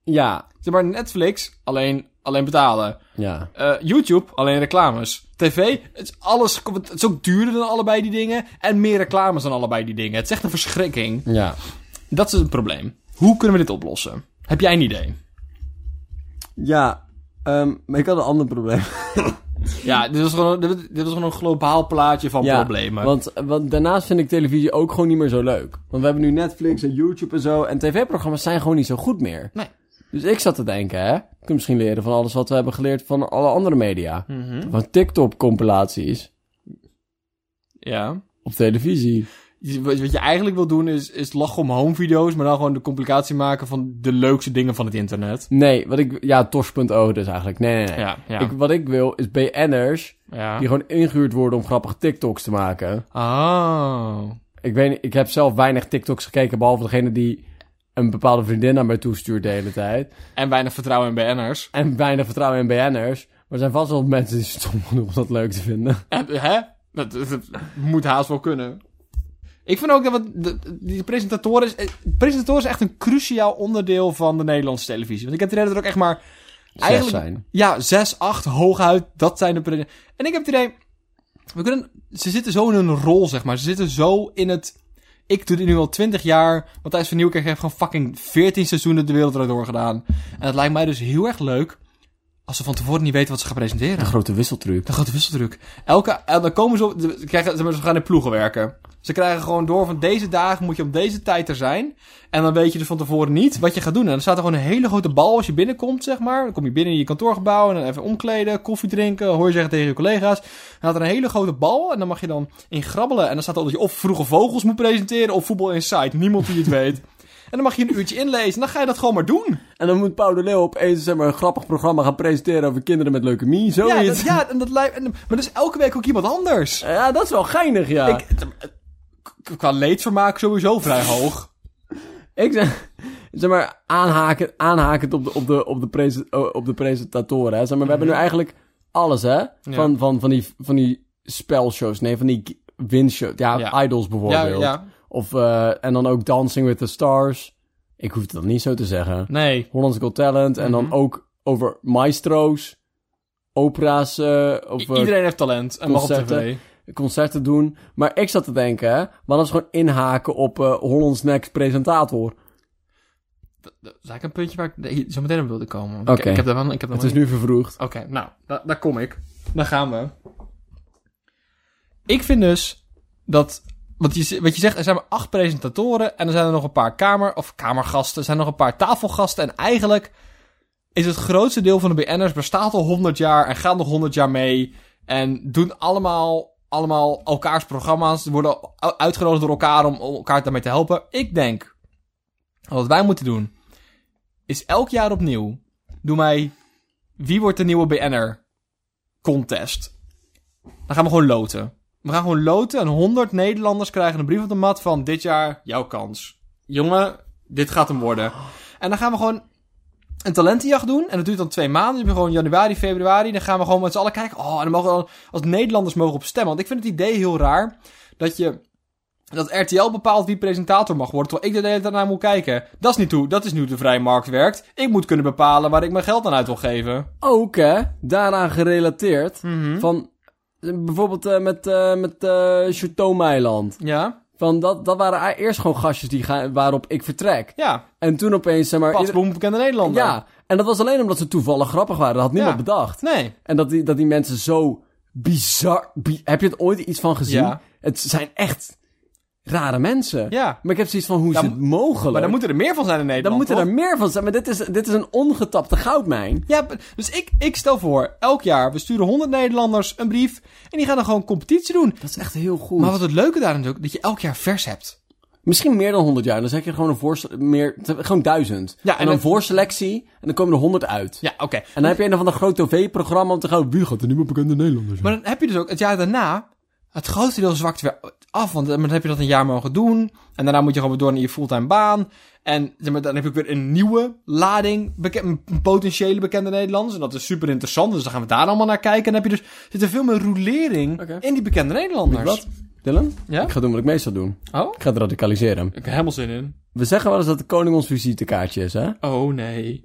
S1: Ja.
S2: Zeg maar Netflix, alleen, alleen betalen.
S1: Ja.
S2: Eh, YouTube, alleen reclames. TV, het is, alles, het is ook duurder dan allebei die dingen. En meer reclames dan allebei die dingen. Het is echt een verschrikking.
S1: Ja.
S2: Dat is het probleem. Hoe kunnen we dit oplossen? Heb jij een idee?
S1: Ja. ehm, maar ik had een ander probleem.
S2: Ja, dit was gewoon, dit, dit was gewoon een globaal plaatje van problemen.
S1: Want, want daarnaast vind ik televisie ook gewoon niet meer zo leuk. Want we hebben nu Netflix en YouTube en zo. En tv-programma's zijn gewoon niet zo goed meer.
S2: Nee.
S1: Dus ik zat te denken, hè. Ik kan misschien leren van alles wat we hebben geleerd van alle andere media.
S2: Mhm.
S1: Van TikTok-compilaties
S2: Ja.
S1: op televisie.
S2: Je- Wat wat je eigenlijk wil doen is, is lachen om home video's, maar dan gewoon de complicatie maken van de leukste dingen van het internet.
S1: Nee, wat ik... Ja, tors.o dus eigenlijk. Nee, nee, nee.
S2: Ja, ja.
S1: Ik, wat ik wil is BN'ers
S2: ja.
S1: die gewoon ingehuurd worden om grappige TikToks te maken.
S2: Oh.
S1: Ik weet niet, ik heb zelf weinig TikToks gekeken, behalve degene die een bepaalde vriendin naar mij toestuurt de hele tijd.
S2: En weinig vertrouwen in BN'ers.
S1: En weinig vertrouwen in BN'ers. Maar er zijn vast wel mensen die stom genoeg om dat leuk te vinden.
S2: Eh, Hè? Dat, dat- dat moet haast wel kunnen. Ik vind ook dat wat de, die presentatoren... Is, eh, presentatoren is echt een cruciaal onderdeel van de Nederlandse televisie. Want ik heb het idee dat er ook echt maar...
S1: Eigenlijk zijn.
S2: Ja, 6, 8, hooguit. Dat zijn de presen- En ik heb het idee... We kunnen, ze zitten zo in hun rol, zeg maar. Ze zitten zo in het... Ik doe dit nu al 20 jaar. Matthijs van Nieuwkerk heeft gewoon fucking 14 seizoenen de wereld erdoor gedaan. En het lijkt mij dus heel erg leuk... als ze van tevoren niet weten wat ze gaan presenteren.
S1: Een grote wisseltruc.
S2: De grote wisseldruk. Elke, en dan komen ze op, ze, krijgen, ze gaan in ploegen werken. Ze krijgen gewoon door van deze dagen moet je op deze tijd er zijn. En dan weet je dus van tevoren niet wat je gaat doen. En dan staat er gewoon een hele grote bal als je binnenkomt, zeg maar. Dan kom je binnen in je kantoorgebouw en dan even omkleden, koffie drinken, hoor je zeggen tegen je collega's. Dan staat er een hele grote bal en dan mag je dan in grabbelen. En dan staat er dat je of vroege vogels moet presenteren of voetbal inside. Niemand die het weet. En dan mag je een uurtje inlezen en dan ga je dat gewoon maar doen.
S1: En dan moet Pauw de Leeuw opeens zeg maar, een grappig programma gaan presenteren over kinderen met leukemie. Zoiets.
S2: Ja, dat, ja en dat lijkt, en, maar dat is elke week ook iemand anders.
S1: Ja, dat is wel geinig, ja.
S2: Ik, k- qua leedvermaak sowieso vrij hoog.
S1: Ik zeg, zeg maar, aanhaken, aanhakend op de, op de, op de, prese- oh, op de presentatoren. Hè. Zeg maar, we hebben nu
S2: Mhm.
S1: eigenlijk alles, hè? Van, van, van, die, van die spelshows. Nee, van die g- winshows. Ja,
S2: Ja.
S1: Idols bijvoorbeeld. Of, eh, en dan ook Dancing with the Stars. Ik hoef het dan niet zo te zeggen.
S2: Nee.
S1: Holland's Got Talent. En
S2: Mhm.
S1: dan ook over maestro's, opera's eh, of eh,
S2: Iedereen heeft talent en mag op tv.
S1: concerten. concerten doen. Maar ik zat te denken, hè, maar dat is gewoon inhaken op eh Holland's Next Presentator.
S2: Dat dat is eigenlijk een puntje waar ik de- zo meteen op wilde komen. Ik- Ik,
S1: Oké.
S2: heb daar wel... Ik heb daar
S1: Het
S2: wel
S1: is nu vervroegd.
S2: Oké, nou, da- daar kom ik. Daar gaan we. Ik vind dus dat... Wat je, z- wat je zegt, er zijn maar acht presentatoren... en er zijn er nog een paar kamer- of kamergasten... er zijn nog een paar tafelgasten... en eigenlijk is het grootste deel van de BN'ers... bestaat al 100 jaar en gaat nog 100 jaar mee... en doen allemaal, allemaal elkaars programma's... worden u- uitgenodigd door elkaar om elkaar daarmee te helpen. Ik denk, wat wij moeten doen... is elk jaar opnieuw... doe mij wie wordt de nieuwe BN'er contest. Dan gaan we gewoon loten. We gaan gewoon loten en 100 Nederlanders krijgen een brief op de mat van dit jaar jouw kans. Jongen, dit gaat hem worden. En dan gaan we gewoon een talentenjacht doen. En dat duurt dan twee maanden. Dus we hebben gewoon januari, februari. Dan gaan we gewoon met z'n allen kijken. Oh, en dan mogen we dan als Nederlanders mogen op stemmen. Want ik vind het idee heel raar dat je... Dat RTL bepaalt wie presentator mag worden, terwijl ik de hele tijd naar moet kijken. Dat is niet hoe, dat is nu de vrije markt werkt. Ik moet kunnen bepalen waar ik mijn geld aan uit wil geven.
S1: Ook, hè, daaraan gerelateerd. Van, eh, bijvoorbeeld eh, met, eh met eh Meiland.
S2: Ja,
S1: Van, dat, dat waren e- eerst gewoon gastjes die gaan, waarop ik vertrek.
S2: ja.
S1: En toen opeens, zeg maar...
S2: Pas
S1: ieder-
S2: Bloem, bekende Nederlander.
S1: ja, en dat was alleen omdat ze toevallig grappig waren. Dat had niemand
S2: Ja.
S1: bedacht.
S2: Nee.
S1: En dat die, dat die mensen zo bizar... bi- heb je het ooit iets van gezien?
S2: Ja.
S1: Het zijn echt rare mensen.
S2: Ja.
S1: Maar ik heb zoiets van, hoe is
S2: Ja,
S1: dit mogelijk?
S2: Maar dan moeten er meer van zijn in
S1: Dan
S2: Nederland.
S1: moeten
S2: toch?
S1: er meer van zijn. Maar dit is, dit is een ongetapte goudmijn.
S2: Ja, b- dus ik, ik stel voor, elk jaar, we sturen 100 Nederlanders een brief. En die gaan dan gewoon competitie doen.
S1: Dat is echt heel goed.
S2: Maar wat het leuke daar natuurlijk, dat je elk jaar vers hebt.
S1: Misschien meer dan 100 jaar. Dan zeg je gewoon een voorse- meer, gewoon duizend.
S2: Ja,
S1: en,
S2: en
S1: dan
S2: het-
S1: voorselectie. En dan komen er 100 uit.
S2: Ja, oké.
S1: En dan heb je een of ander groot tv-programma om te gaan. Wie gaat er niet meer bekende Nederlanders? zijn?
S2: Maar dan heb je dus ook het jaar daarna. Het grootste deel zwakt weer af. Want dan heb je dat een jaar mogen doen. En daarna moet je gewoon weer door naar je fulltime baan. En zeg maar, dan heb ik weer een nieuwe lading. beken- potentiële bekende Nederlanders. En dat is super interessant. Dus dan gaan we daar allemaal naar kijken. En dan heb je dus. Zit er veel meer roulering
S1: Oké.
S2: in die bekende Nederlanders.
S1: Weet je Dylan?
S2: Ja?
S1: Ik ga doen wat ik meestal doe.
S2: Oh?
S1: Ik ga het radicaliseren.
S2: Ik heb er helemaal zin in.
S1: We zeggen wel eens dat de koning ons visitekaartje is, hè?
S2: Oh nee.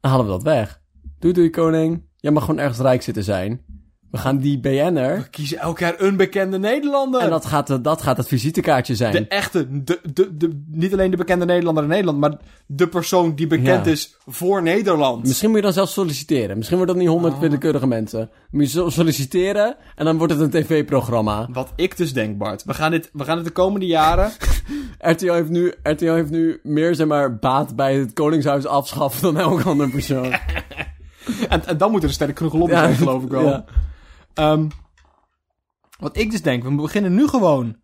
S1: Dan halen we dat weg. Doei doei, koning. Jij mag gewoon ergens rijk zitten zijn. We gaan die BN'er.
S2: We kiezen elk jaar een bekende Nederlander.
S1: En dat gaat, de- dat gaat het visitekaartje zijn.
S2: De echte, de, de, de, niet alleen de bekende Nederlander in Nederland, maar de persoon die bekend
S1: Ja.
S2: is voor Nederland.
S1: Misschien moet je dan zelf solliciteren. Misschien wordt dat niet honderd
S2: Ah.
S1: willekeurige mensen. Dan Moet je zo- solliciteren en dan wordt het een tv-programma.
S2: Wat ik dus denk, Bart. We gaan dit, we gaan dit de komende jaren.
S1: RTL heeft, nu, RTL heeft nu meer zeg maar, baat bij het Koningshuis afschaffen dan elk ander persoon.
S2: en, en dan moet er een sterke kroeg lobby zijn, geloof ik wel.
S1: Ja.
S2: Ehm, wat ik dus denk, we beginnen nu gewoon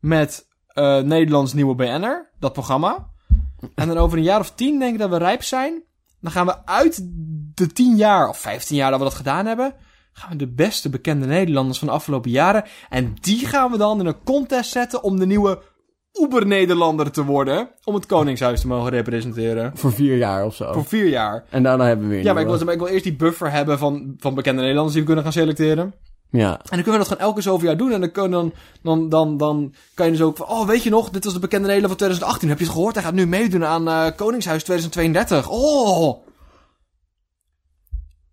S2: met eh, Nederlands Nieuwe BN'er, dat programma. En dan over een jaar of tien denk ik dat we rijp zijn. Dan gaan we uit de tien jaar, of vijftien jaar dat we dat gedaan hebben, gaan we de beste bekende Nederlanders van de afgelopen jaren. En die gaan we dan in een contest zetten om de nieuwe Uber-Nederlander te worden. Om het Koningshuis te mogen representeren.
S1: Voor vier jaar of zo.
S2: Voor vier jaar.
S1: En daarna hebben we weer
S2: Ja, maar ik
S1: nieuwe.
S2: wil, maar ik wil eerst die buffer hebben van, van bekende Nederlanders die we kunnen gaan selecteren.
S1: Ja.
S2: En dan kunnen we dat gewoon elke zoveel jaar doen. En dan, kunnen dan, dan, dan, dan kan je dus ook van... Oh, weet je nog? Dit was de bekende Nederlander van 2018. Heb je het gehoord? Hij gaat nu meedoen aan eh, Koningshuis 2032. Oh!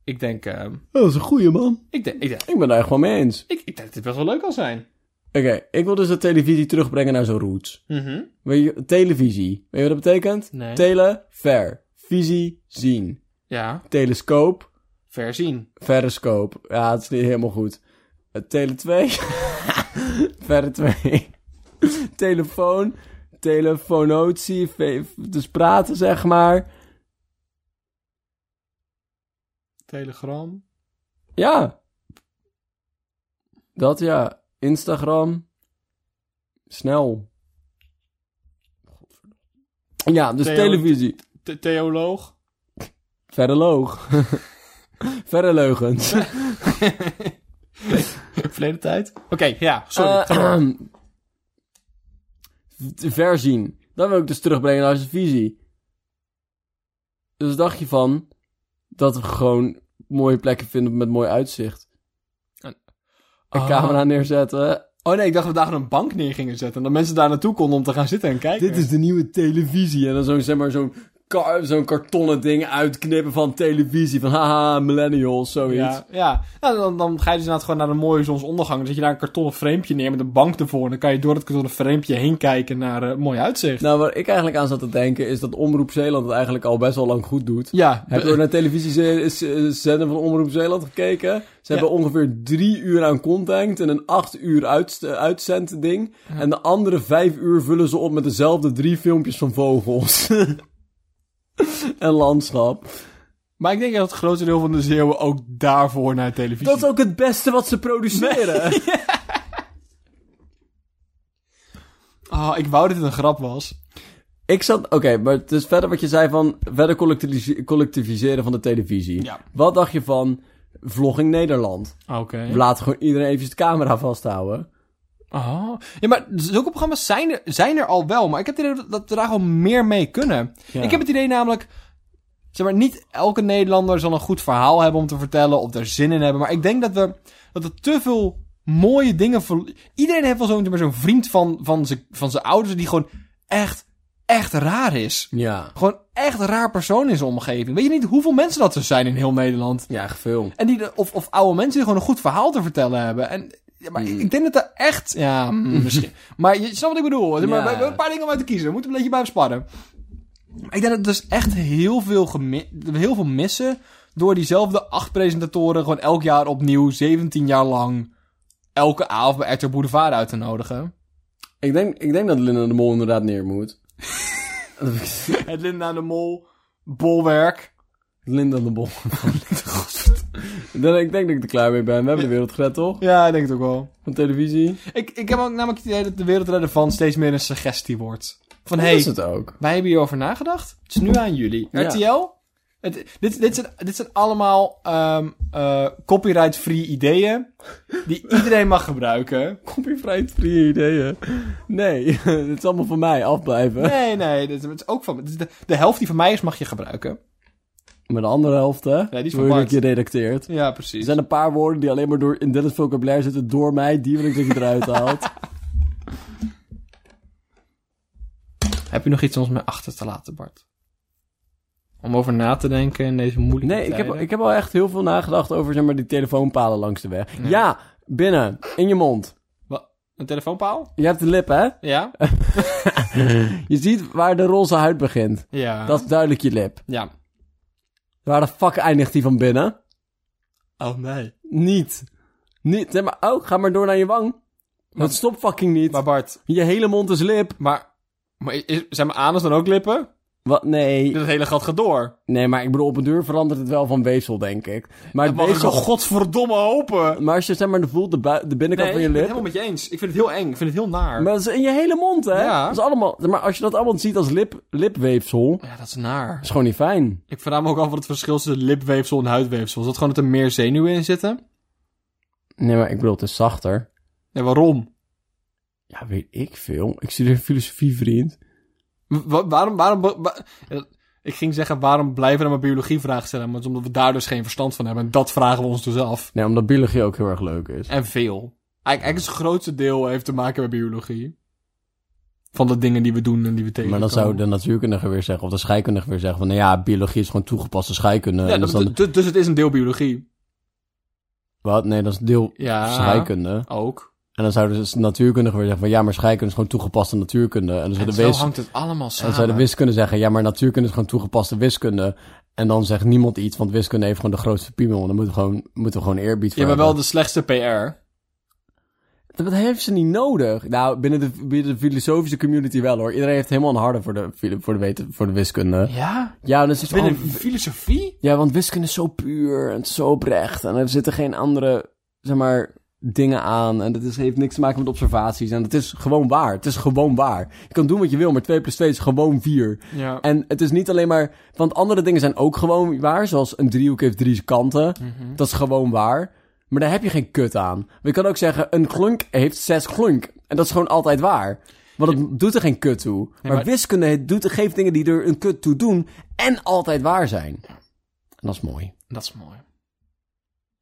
S2: Ik denk... ehm,
S1: Dat is een goeie man.
S2: ik denk... Ik denk...
S1: Ik ben daar echt wel mee eens.
S2: Ik, ik denk dat dit best wel leuk kan zijn.
S1: Oké, ik wil dus de televisie terugbrengen naar zijn roots.
S2: Mhm.
S1: Weet je, televisie. Weet je wat dat betekent?
S2: Nee.
S1: Tele, ver. Visie, zien.
S2: Ja,
S1: Telescoop,
S2: ver zien.
S1: Verrescoop. Ja, het is niet helemaal goed. Eh, Tele 2. Verre 2. Telefoon. Telefonotie. ve- Dus praten, zeg maar.
S2: Telegram.
S1: Ja. Dat ja. Instagram. Snel. Ja, dus
S2: Theo-
S1: televisie.
S2: theoloog.
S1: Verre loog. Verre leugens.
S2: Verleden tijd. Oké, ja. Sorry.
S1: Eh, verzien. Dan wil ik dus terugbrengen naar zijn visie. Dus dacht je van dat we gewoon mooie plekken vinden met mooi uitzicht. Een
S2: Oh.
S1: camera neerzetten.
S2: Oh nee, ik dacht dat we daar een bank neer gingen zetten. En dat mensen daar naartoe konden om te gaan zitten en kijken.
S1: Dit is de nieuwe televisie. En dan zo'n zeg maar, zo'n ka- zo'n kartonnen ding uitknippen van televisie. Van haha, millennials, zoiets.
S2: Ja, ja. Nou, dan, dan ga je dus inderdaad gewoon naar een mooie zonsondergang. Dan zet je daar een kartonnen framepje neer met een bank ervoor. En dan kan je door het kartonnen framepje heen kijken naar eh mooi uitzicht.
S1: Nou, waar ik eigenlijk aan zat te denken is dat Omroep Zeeland het eigenlijk al best wel lang goed doet.
S2: Ja,
S1: Heb je ook naar televisiezender eh, van Omroep Zeeland gekeken? Ze
S2: Ja.
S1: hebben ongeveer drie uur aan content en een acht uur uitst- eh, uitzendding. En de andere vijf uur vullen ze op met dezelfde drie filmpjes van vogels. en landschap.
S2: maar ik denk dat het grootste deel van de Zeeuwen ook daarvoor naar televisie...
S1: Dat is ook het beste wat ze produceren.
S2: Ah, ik wou dat dit een grap was.
S1: Ik zat... Oké, maar het is verder wat je zei van... Verder collectivis- collectiviseren van de televisie.
S2: Ja.
S1: Wat dacht je van... Vlogging Nederland.
S2: Oké.
S1: We laten gewoon iedereen eventjes de camera vasthouden.
S2: Oh. Ja, maar zulke programma's zijn er, zijn er al wel. Maar ik heb het idee dat- dat we daar gewoon meer mee kunnen.
S1: Ja.
S2: Ik heb het idee namelijk... Zeg maar, niet elke Nederlander zal een goed verhaal hebben om te vertellen... of er zin in hebben. Maar ik denk dat, we, dat er te veel mooie dingen... verlo- Iedereen heeft wel zo'n zeg maar, zo'n vriend van, van zijn van zijn ouders... die gewoon echt, echt raar is.
S1: Ja.
S2: Gewoon echt een raar persoon in zijn omgeving. Weet je niet hoeveel mensen dat er zijn in heel Nederland?
S1: Ja, echt veel.
S2: En die, of, of oude mensen die gewoon een goed verhaal te vertellen hebben. En, ja, maar ik denk dat er echt... Ja, mm, misschien. Maar je snapt wat ik bedoel. Dus Maar
S1: Ja.
S2: we hebben een paar dingen om uit te kiezen. We moeten een beetje blijven sparren. Maar ik denk dat er dus echt heel veel, gemi- heel veel missen... door diezelfde acht presentatoren... gewoon elk jaar opnieuw, 17 jaar lang... elke avond bij RTL Boulevard uit te nodigen.
S1: Ik denk, ik denk dat Linda de Mol inderdaad neer moet. Dat heb ik-
S2: Het Linda de Mol, bolwerk.
S1: Linda de Mol. Dan- ik denk dat ik er klaar mee ben. We hebben de wereld gered, toch?
S2: Ja, ik denk het ook wel.
S1: Van televisie.
S2: Ik, ik heb ook namelijk het idee dat de wereldredder van steeds meer een suggestie wordt. Van,
S1: Dat
S2: hey,
S1: is het ook.
S2: Wij hebben hierover nagedacht. Het is nu aan jullie.
S1: Ja.
S2: RTL? Het, dit, dit, zijn, dit zijn allemaal ehm, eh, copyright-free ideeën die iedereen mag gebruiken.
S1: Copyright free ideeën. Nee, het is allemaal van mij. Afblijven.
S2: Nee, nee, dit, het is ook van... dit is De, de helft die van mij is, mag je gebruiken.
S1: Maar de andere helft, hè?
S2: die is van
S1: wil je
S2: Bart.
S1: dat je redacteert.
S2: Ja,
S1: Er
S2: precies.
S1: zijn een paar woorden die alleen maar door in Dennis' vocabulaire zitten door mij. Die wil ik dat je eruit haalt.
S2: Heb je nog iets om ons mee achter te laten, Bart? Om over na te denken in deze moeilijke
S1: Nee, ik heb,
S2: tijden?
S1: ik heb al echt heel veel nagedacht over zeg maar, die telefoonpalen langs de weg.
S2: Ja.
S1: Ja. binnen. In je mond.
S2: Wat? Een telefoonpaal?
S1: Je hebt de lip, hè?
S2: Ja?
S1: Je ziet waar de roze huid begint.
S2: Ja.
S1: Dat is duidelijk je lip.
S2: Ja.
S1: Waar de fuck eindigt die van binnen?
S2: Oh, nee.
S1: Niet. Niet. Zeg maar, oh, ga maar door naar je wang.
S2: Maar-
S1: Dat stopt fucking niet.
S2: Maar Bart,
S1: Je hele mond is lip.
S2: maar, maar is, zijn mijn anus dan ook lippen?
S1: Wat? Nee.
S2: Dat hele gat gaat door.
S1: Nee, maar ik bedoel, op een deur verandert het wel van weefsel, denk ik. Maar, het
S2: Mag ik zo
S1: weefsel,
S2: godverdomme hopen?
S1: maar als je zeg maar voelt de, bui- de binnenkant
S2: Nee,
S1: van
S2: ik ben
S1: je
S2: het
S1: lip...
S2: helemaal met je eens. Ik vind het heel eng. Ik vind het heel naar.
S1: Maar dat is in je hele mond, hè?
S2: Ja.
S1: Dat is allemaal... Maar als je dat allemaal ziet als lip, lipweefsel...
S2: Ja, dat is naar.
S1: is gewoon niet fijn.
S2: Ik vraag me ook af wat het verschil is tussen lipweefsel en huidweefsel. Is dat gewoon dat er meer zenuwen in zitten?
S1: Nee, maar ik bedoel, het is zachter.
S2: Ja, waarom?
S1: Ja, weet ik veel. Ik studeer filosofie, vriend.
S2: W- wa- waarom, waarom... wa- ja, ik ging zeggen, waarom blijven we nou maar biologievragen stellen? Maar het is omdat we daar dus geen verstand van hebben. En dat vragen we ons dus af.
S1: Nee, omdat biologie ook heel erg leuk is.
S2: En veel. Eigenlijk, eigenlijk is het grootste deel heeft te maken met biologie. Van de dingen die we doen en die we
S1: Maar
S2: tegenkomen.
S1: dan zou de natuurkundige weer zeggen, of de scheikundige weer zeggen van... Nou ja, biologie is gewoon toegepaste scheikunde.
S2: Ja,
S1: en dat is dan...
S2: d- d- dus het is een deel biologie.
S1: Wat? Nee, dat is deel
S2: Ja,
S1: scheikunde.
S2: ook.
S1: En dan zou dus de natuurkundige weer zeggen van... Ja, maar scheikunde is gewoon toegepaste natuurkunde. En dan zou
S2: En
S1: de,
S2: zo
S1: wees... en
S2: hangt het allemaal samen.
S1: dan zou de wiskunde zeggen... Ja, maar natuurkunde is gewoon toegepaste wiskunde. En dan zegt niemand iets, want wiskunde heeft gewoon de grootste piemel. En daar moeten we gewoon, moeten we gewoon eerbied voor
S2: Ja, maar
S1: hebben.
S2: wel de slechtste PR.
S1: Dat heeft ze niet nodig. Nou, binnen de, binnen de filosofische community wel hoor. Iedereen heeft helemaal een harde voor de, fil- voor de, weten, voor de wiskunde.
S2: Ja?
S1: Ja, dat is
S2: Binnen
S1: al-
S2: filosofie?
S1: ja, want wiskunde is zo puur en het is zo oprecht. En er zitten geen andere, zeg maar, dingen aan. En dat is, heeft niks te maken met observaties. En het is gewoon waar. Het is gewoon waar. Je kan doen wat je wil, maar 2 plus 2 is gewoon 4.
S2: Ja.
S1: En het is niet alleen maar... Want andere dingen zijn ook gewoon waar. Zoals een driehoek heeft drie kanten.
S2: Mhm.
S1: Dat is gewoon waar. Maar daar heb je geen kut aan. Maar je kan ook zeggen, een klunk heeft zes klunk. En dat is gewoon altijd waar. Want het doet er geen kut toe. maar,
S2: maar-
S1: wiskunde doet, geeft dingen die er een kut toe doen. En altijd waar zijn. En dat is mooi.
S2: Dat is mooi.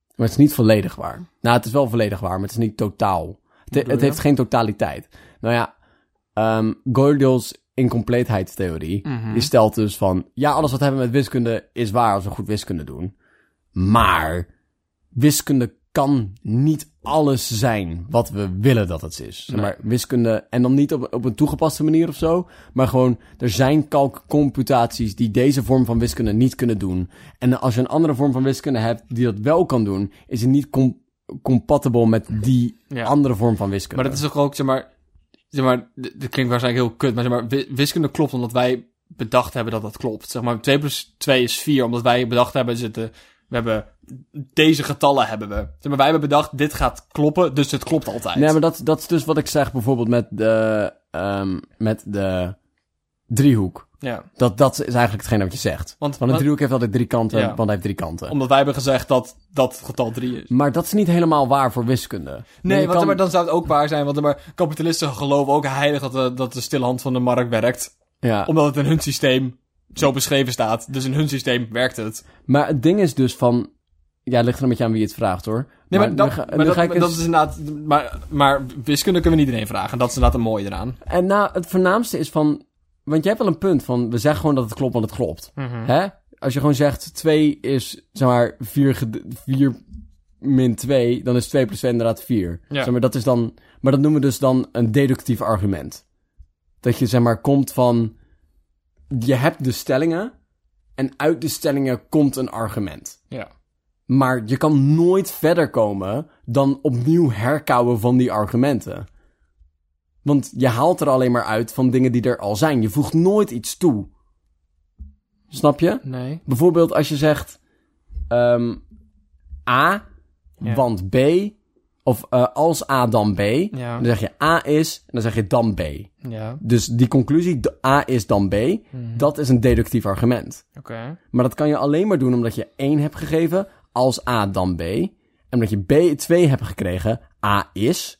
S1: Maar het is niet volledig waar. Nou, het is wel volledig waar, maar het is niet totaal. Het,
S2: bedoel
S1: het
S2: je?
S1: heeft geen totaliteit. Nou ja, ehm Gödel's incompleetheidstheorie...
S2: Mhm.
S1: die stelt dus van... ja, alles wat we hebben met wiskunde is waar als we goed wiskunde doen. Maar wiskunde kan niet alles zijn wat we willen dat het is. Zeg maar wiskunde, en dan niet op, op een toegepaste manier of zo... maar gewoon, er zijn kalkcomputaties die deze vorm van wiskunde niet kunnen doen. En als je een andere vorm van wiskunde hebt die dat wel kan doen... is het niet com- compatible met die
S2: Ja.
S1: andere vorm van wiskunde.
S2: Maar dat is toch ook, zeg maar... Zeg maar, dit dit klinkt waarschijnlijk heel kut, maar zeg maar, wi- wiskunde klopt omdat wij bedacht hebben dat dat klopt. Zeg maar, 2 plus 2 is 4, omdat wij bedacht hebben, zitten, we hebben, deze getallen hebben we. Zeg maar, wij hebben bedacht, dit gaat kloppen, dus het klopt altijd.
S1: Nee, maar dat, dat is dus wat ik zeg bijvoorbeeld met de, ehm, met de driehoek.
S2: Ja.
S1: Dat, dat is eigenlijk hetgeen wat je zegt.
S2: Want,
S1: Want een
S2: want-
S1: driehoek heeft altijd drie kanten,
S2: Ja.
S1: want hij heeft drie kanten.
S2: omdat wij hebben gezegd dat dat getal 3 is.
S1: Maar dat is niet helemaal waar voor wiskunde.
S2: Nee,
S1: je
S2: want
S1: kan-
S2: maar dan zou het ook waar zijn. Want maar kapitalisten geloven ook heilig dat de, dat de stille hand van de markt werkt.
S1: Ja.
S2: Omdat het in hun systeem zo beschreven staat. Dus in hun systeem werkt het.
S1: Maar het ding is dus van... Ja, het ligt er een beetje aan wie het vraagt, hoor.
S2: Nee, maar, dat,
S1: nu ga-
S2: maar
S1: nu
S2: dat,
S1: ga ik
S2: maar dat
S1: eens-
S2: is inderdaad... Maar, maar wiskunde kunnen we niet iedereen vragen. Dat is inderdaad een mooie eraan.
S1: En nou, het voornaamste is van... Want je hebt wel een punt van... We zeggen gewoon dat het klopt, want het klopt. Hè? Als je gewoon zegt 2 is, zeg maar, 4, ged- 4 min 2... Dan is 2 plus 2 inderdaad 4.
S2: Ja.
S1: Zeg maar, dat is dan... Maar dat noemen we dus dan een deductief argument. Dat je, zeg maar, komt van... Je hebt de stellingen... En uit de stellingen komt een argument.
S2: Ja.
S1: Maar je kan nooit verder komen dan opnieuw herkouwen van die argumenten. Want je haalt er alleen maar uit van dingen die er al zijn. Je voegt nooit iets toe. Snap je?
S2: Nee.
S1: Bijvoorbeeld als je zegt ehm, A,
S2: Ja.
S1: want B, of eh, als A dan B.
S2: Ja.
S1: Dan zeg je A is, en dan zeg je dan B.
S2: Ja.
S1: Dus die conclusie, d- A is dan B,
S2: Mhm.
S1: dat is een deductief argument.
S2: Oké.
S1: Maar dat kan je alleen maar doen omdat je 1 hebt gegeven als A dan B. En omdat je B 2 hebt gekregen, A is.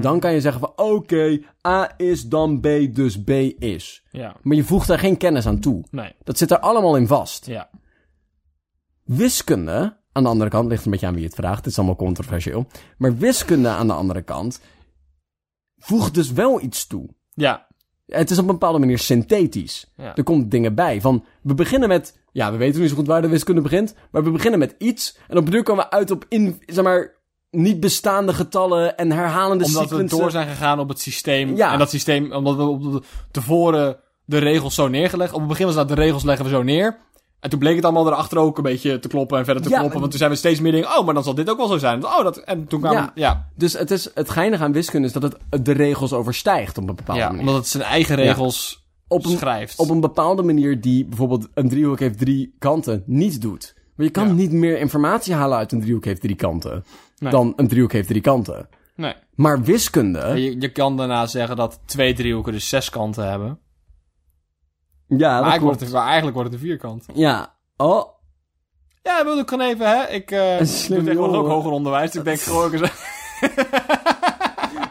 S1: Dan kan je zeggen van oké, A is dan B, dus B is.
S2: Ja.
S1: Maar je voegt daar geen kennis aan toe.
S2: Nee.
S1: Dat zit er allemaal in vast.
S2: Ja.
S1: Wiskunde, aan de andere kant, ligt een beetje aan wie het vraagt. Het is allemaal controversieel. Maar wiskunde aan de andere kant voegt dus wel iets toe.
S2: Ja.
S1: Het is op een bepaalde manier synthetisch.
S2: Ja.
S1: Er komt dingen bij. Van, we beginnen met... Ja, we weten niet zo goed waar de wiskunde begint. Maar we beginnen met iets. En op de duur komen we uit op in, zeg maar, niet bestaande getallen en herhalende
S2: Omdat we
S1: sequences.
S2: door zijn gegaan op het systeem.
S1: Ja.
S2: En dat systeem, omdat we op de- tevoren de regels zo neergelegd. Op het begin was dat de regels leggen we zo neer. En toen bleek het allemaal erachter ook een beetje te kloppen en verder te
S1: Ja,
S2: kloppen. Want toen zijn we steeds meer dingen. Oh, maar dan zal dit ook wel zo zijn. Oh, dat. En toen kwam.
S1: Ja.
S2: Ja. Ja,
S1: Dus het, is, het geinige aan wiskunde is dat het de regels overstijgt op een bepaalde manier.
S2: omdat het zijn eigen regels
S1: Op een,
S2: schrijft.
S1: op een bepaalde manier die bijvoorbeeld een driehoek heeft drie kanten niet doet. Maar je kan
S2: Ja.
S1: niet meer informatie halen uit een driehoek heeft drie kanten.
S2: Nee.
S1: Dan een driehoek heeft drie kanten.
S2: Nee.
S1: Maar wiskunde...
S2: Je, je kan daarna zeggen dat twee driehoeken dus zes kanten hebben. Maar
S1: Ja, dat
S2: eigenlijk,
S1: klopt.
S2: wordt het, maar eigenlijk wordt het een vierkant.
S1: Ja. Oh,
S2: Ja, ik bedoel, ik kan even, hè. Ik eh doe
S1: slim
S2: tegenwoordig ook
S1: jongen.
S2: hoger onderwijs. dus Ik denk gewoon... ook eens-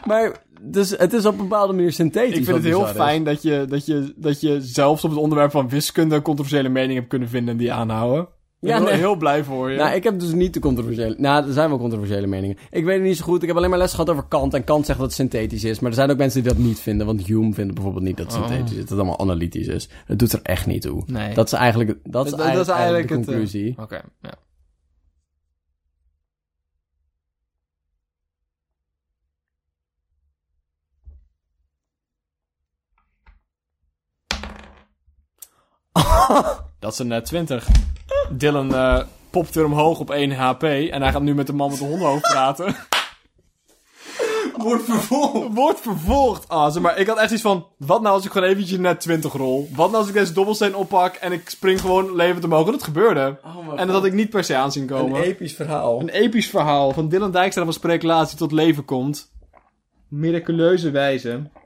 S1: Maar dus, het is op een bepaalde manier synthetisch.
S2: Ik
S1: wat
S2: vind het heel
S1: bizar is.
S2: fijn dat je, dat, je, dat je zelfs op het onderwerp van wiskunde controversiële meningen hebt kunnen vinden en die aanhouden.
S1: Ja,
S2: Ja, ik ben
S1: nee.
S2: er heel blij voor je.
S1: Nou, ik heb dus niet de controversiële... Nou, er zijn wel controversiële meningen. Ik weet het niet zo goed. Ik heb alleen maar les gehad over Kant. En Kant zegt dat het synthetisch is. Maar er zijn ook mensen die dat niet vinden. Want Hume vindt bijvoorbeeld niet dat het synthetisch is. Dat het allemaal analytisch is. Het doet er echt niet toe.
S2: Oh. nee.
S1: Dat is eigenlijk, dat is
S2: Dat- dat
S1: eigenlijk,
S2: is eigenlijk
S1: de
S2: het, eh,
S1: conclusie.
S2: Oké, ja. Dat is een eh, 20. Dylan eh popt weer omhoog op 1 HP. En hij gaat nu met de man met de hondenhoofd praten. Wordt vervolgd. Wordt vervolgd. Ah, zeg maar, ik had echt iets van... Wat nou als ik gewoon eventjes net 20 rol? Wat nou als ik deze dobbelsteen oppak en ik spring gewoon levend omhoog? En dat gebeurde. en dat had ik niet per se aanzien komen. Oh Een,
S1: episch verhaal.
S2: episch verhaal van Dylan Dijkstra van Spreeklatie tot leven komt. Miraculeuze wijze.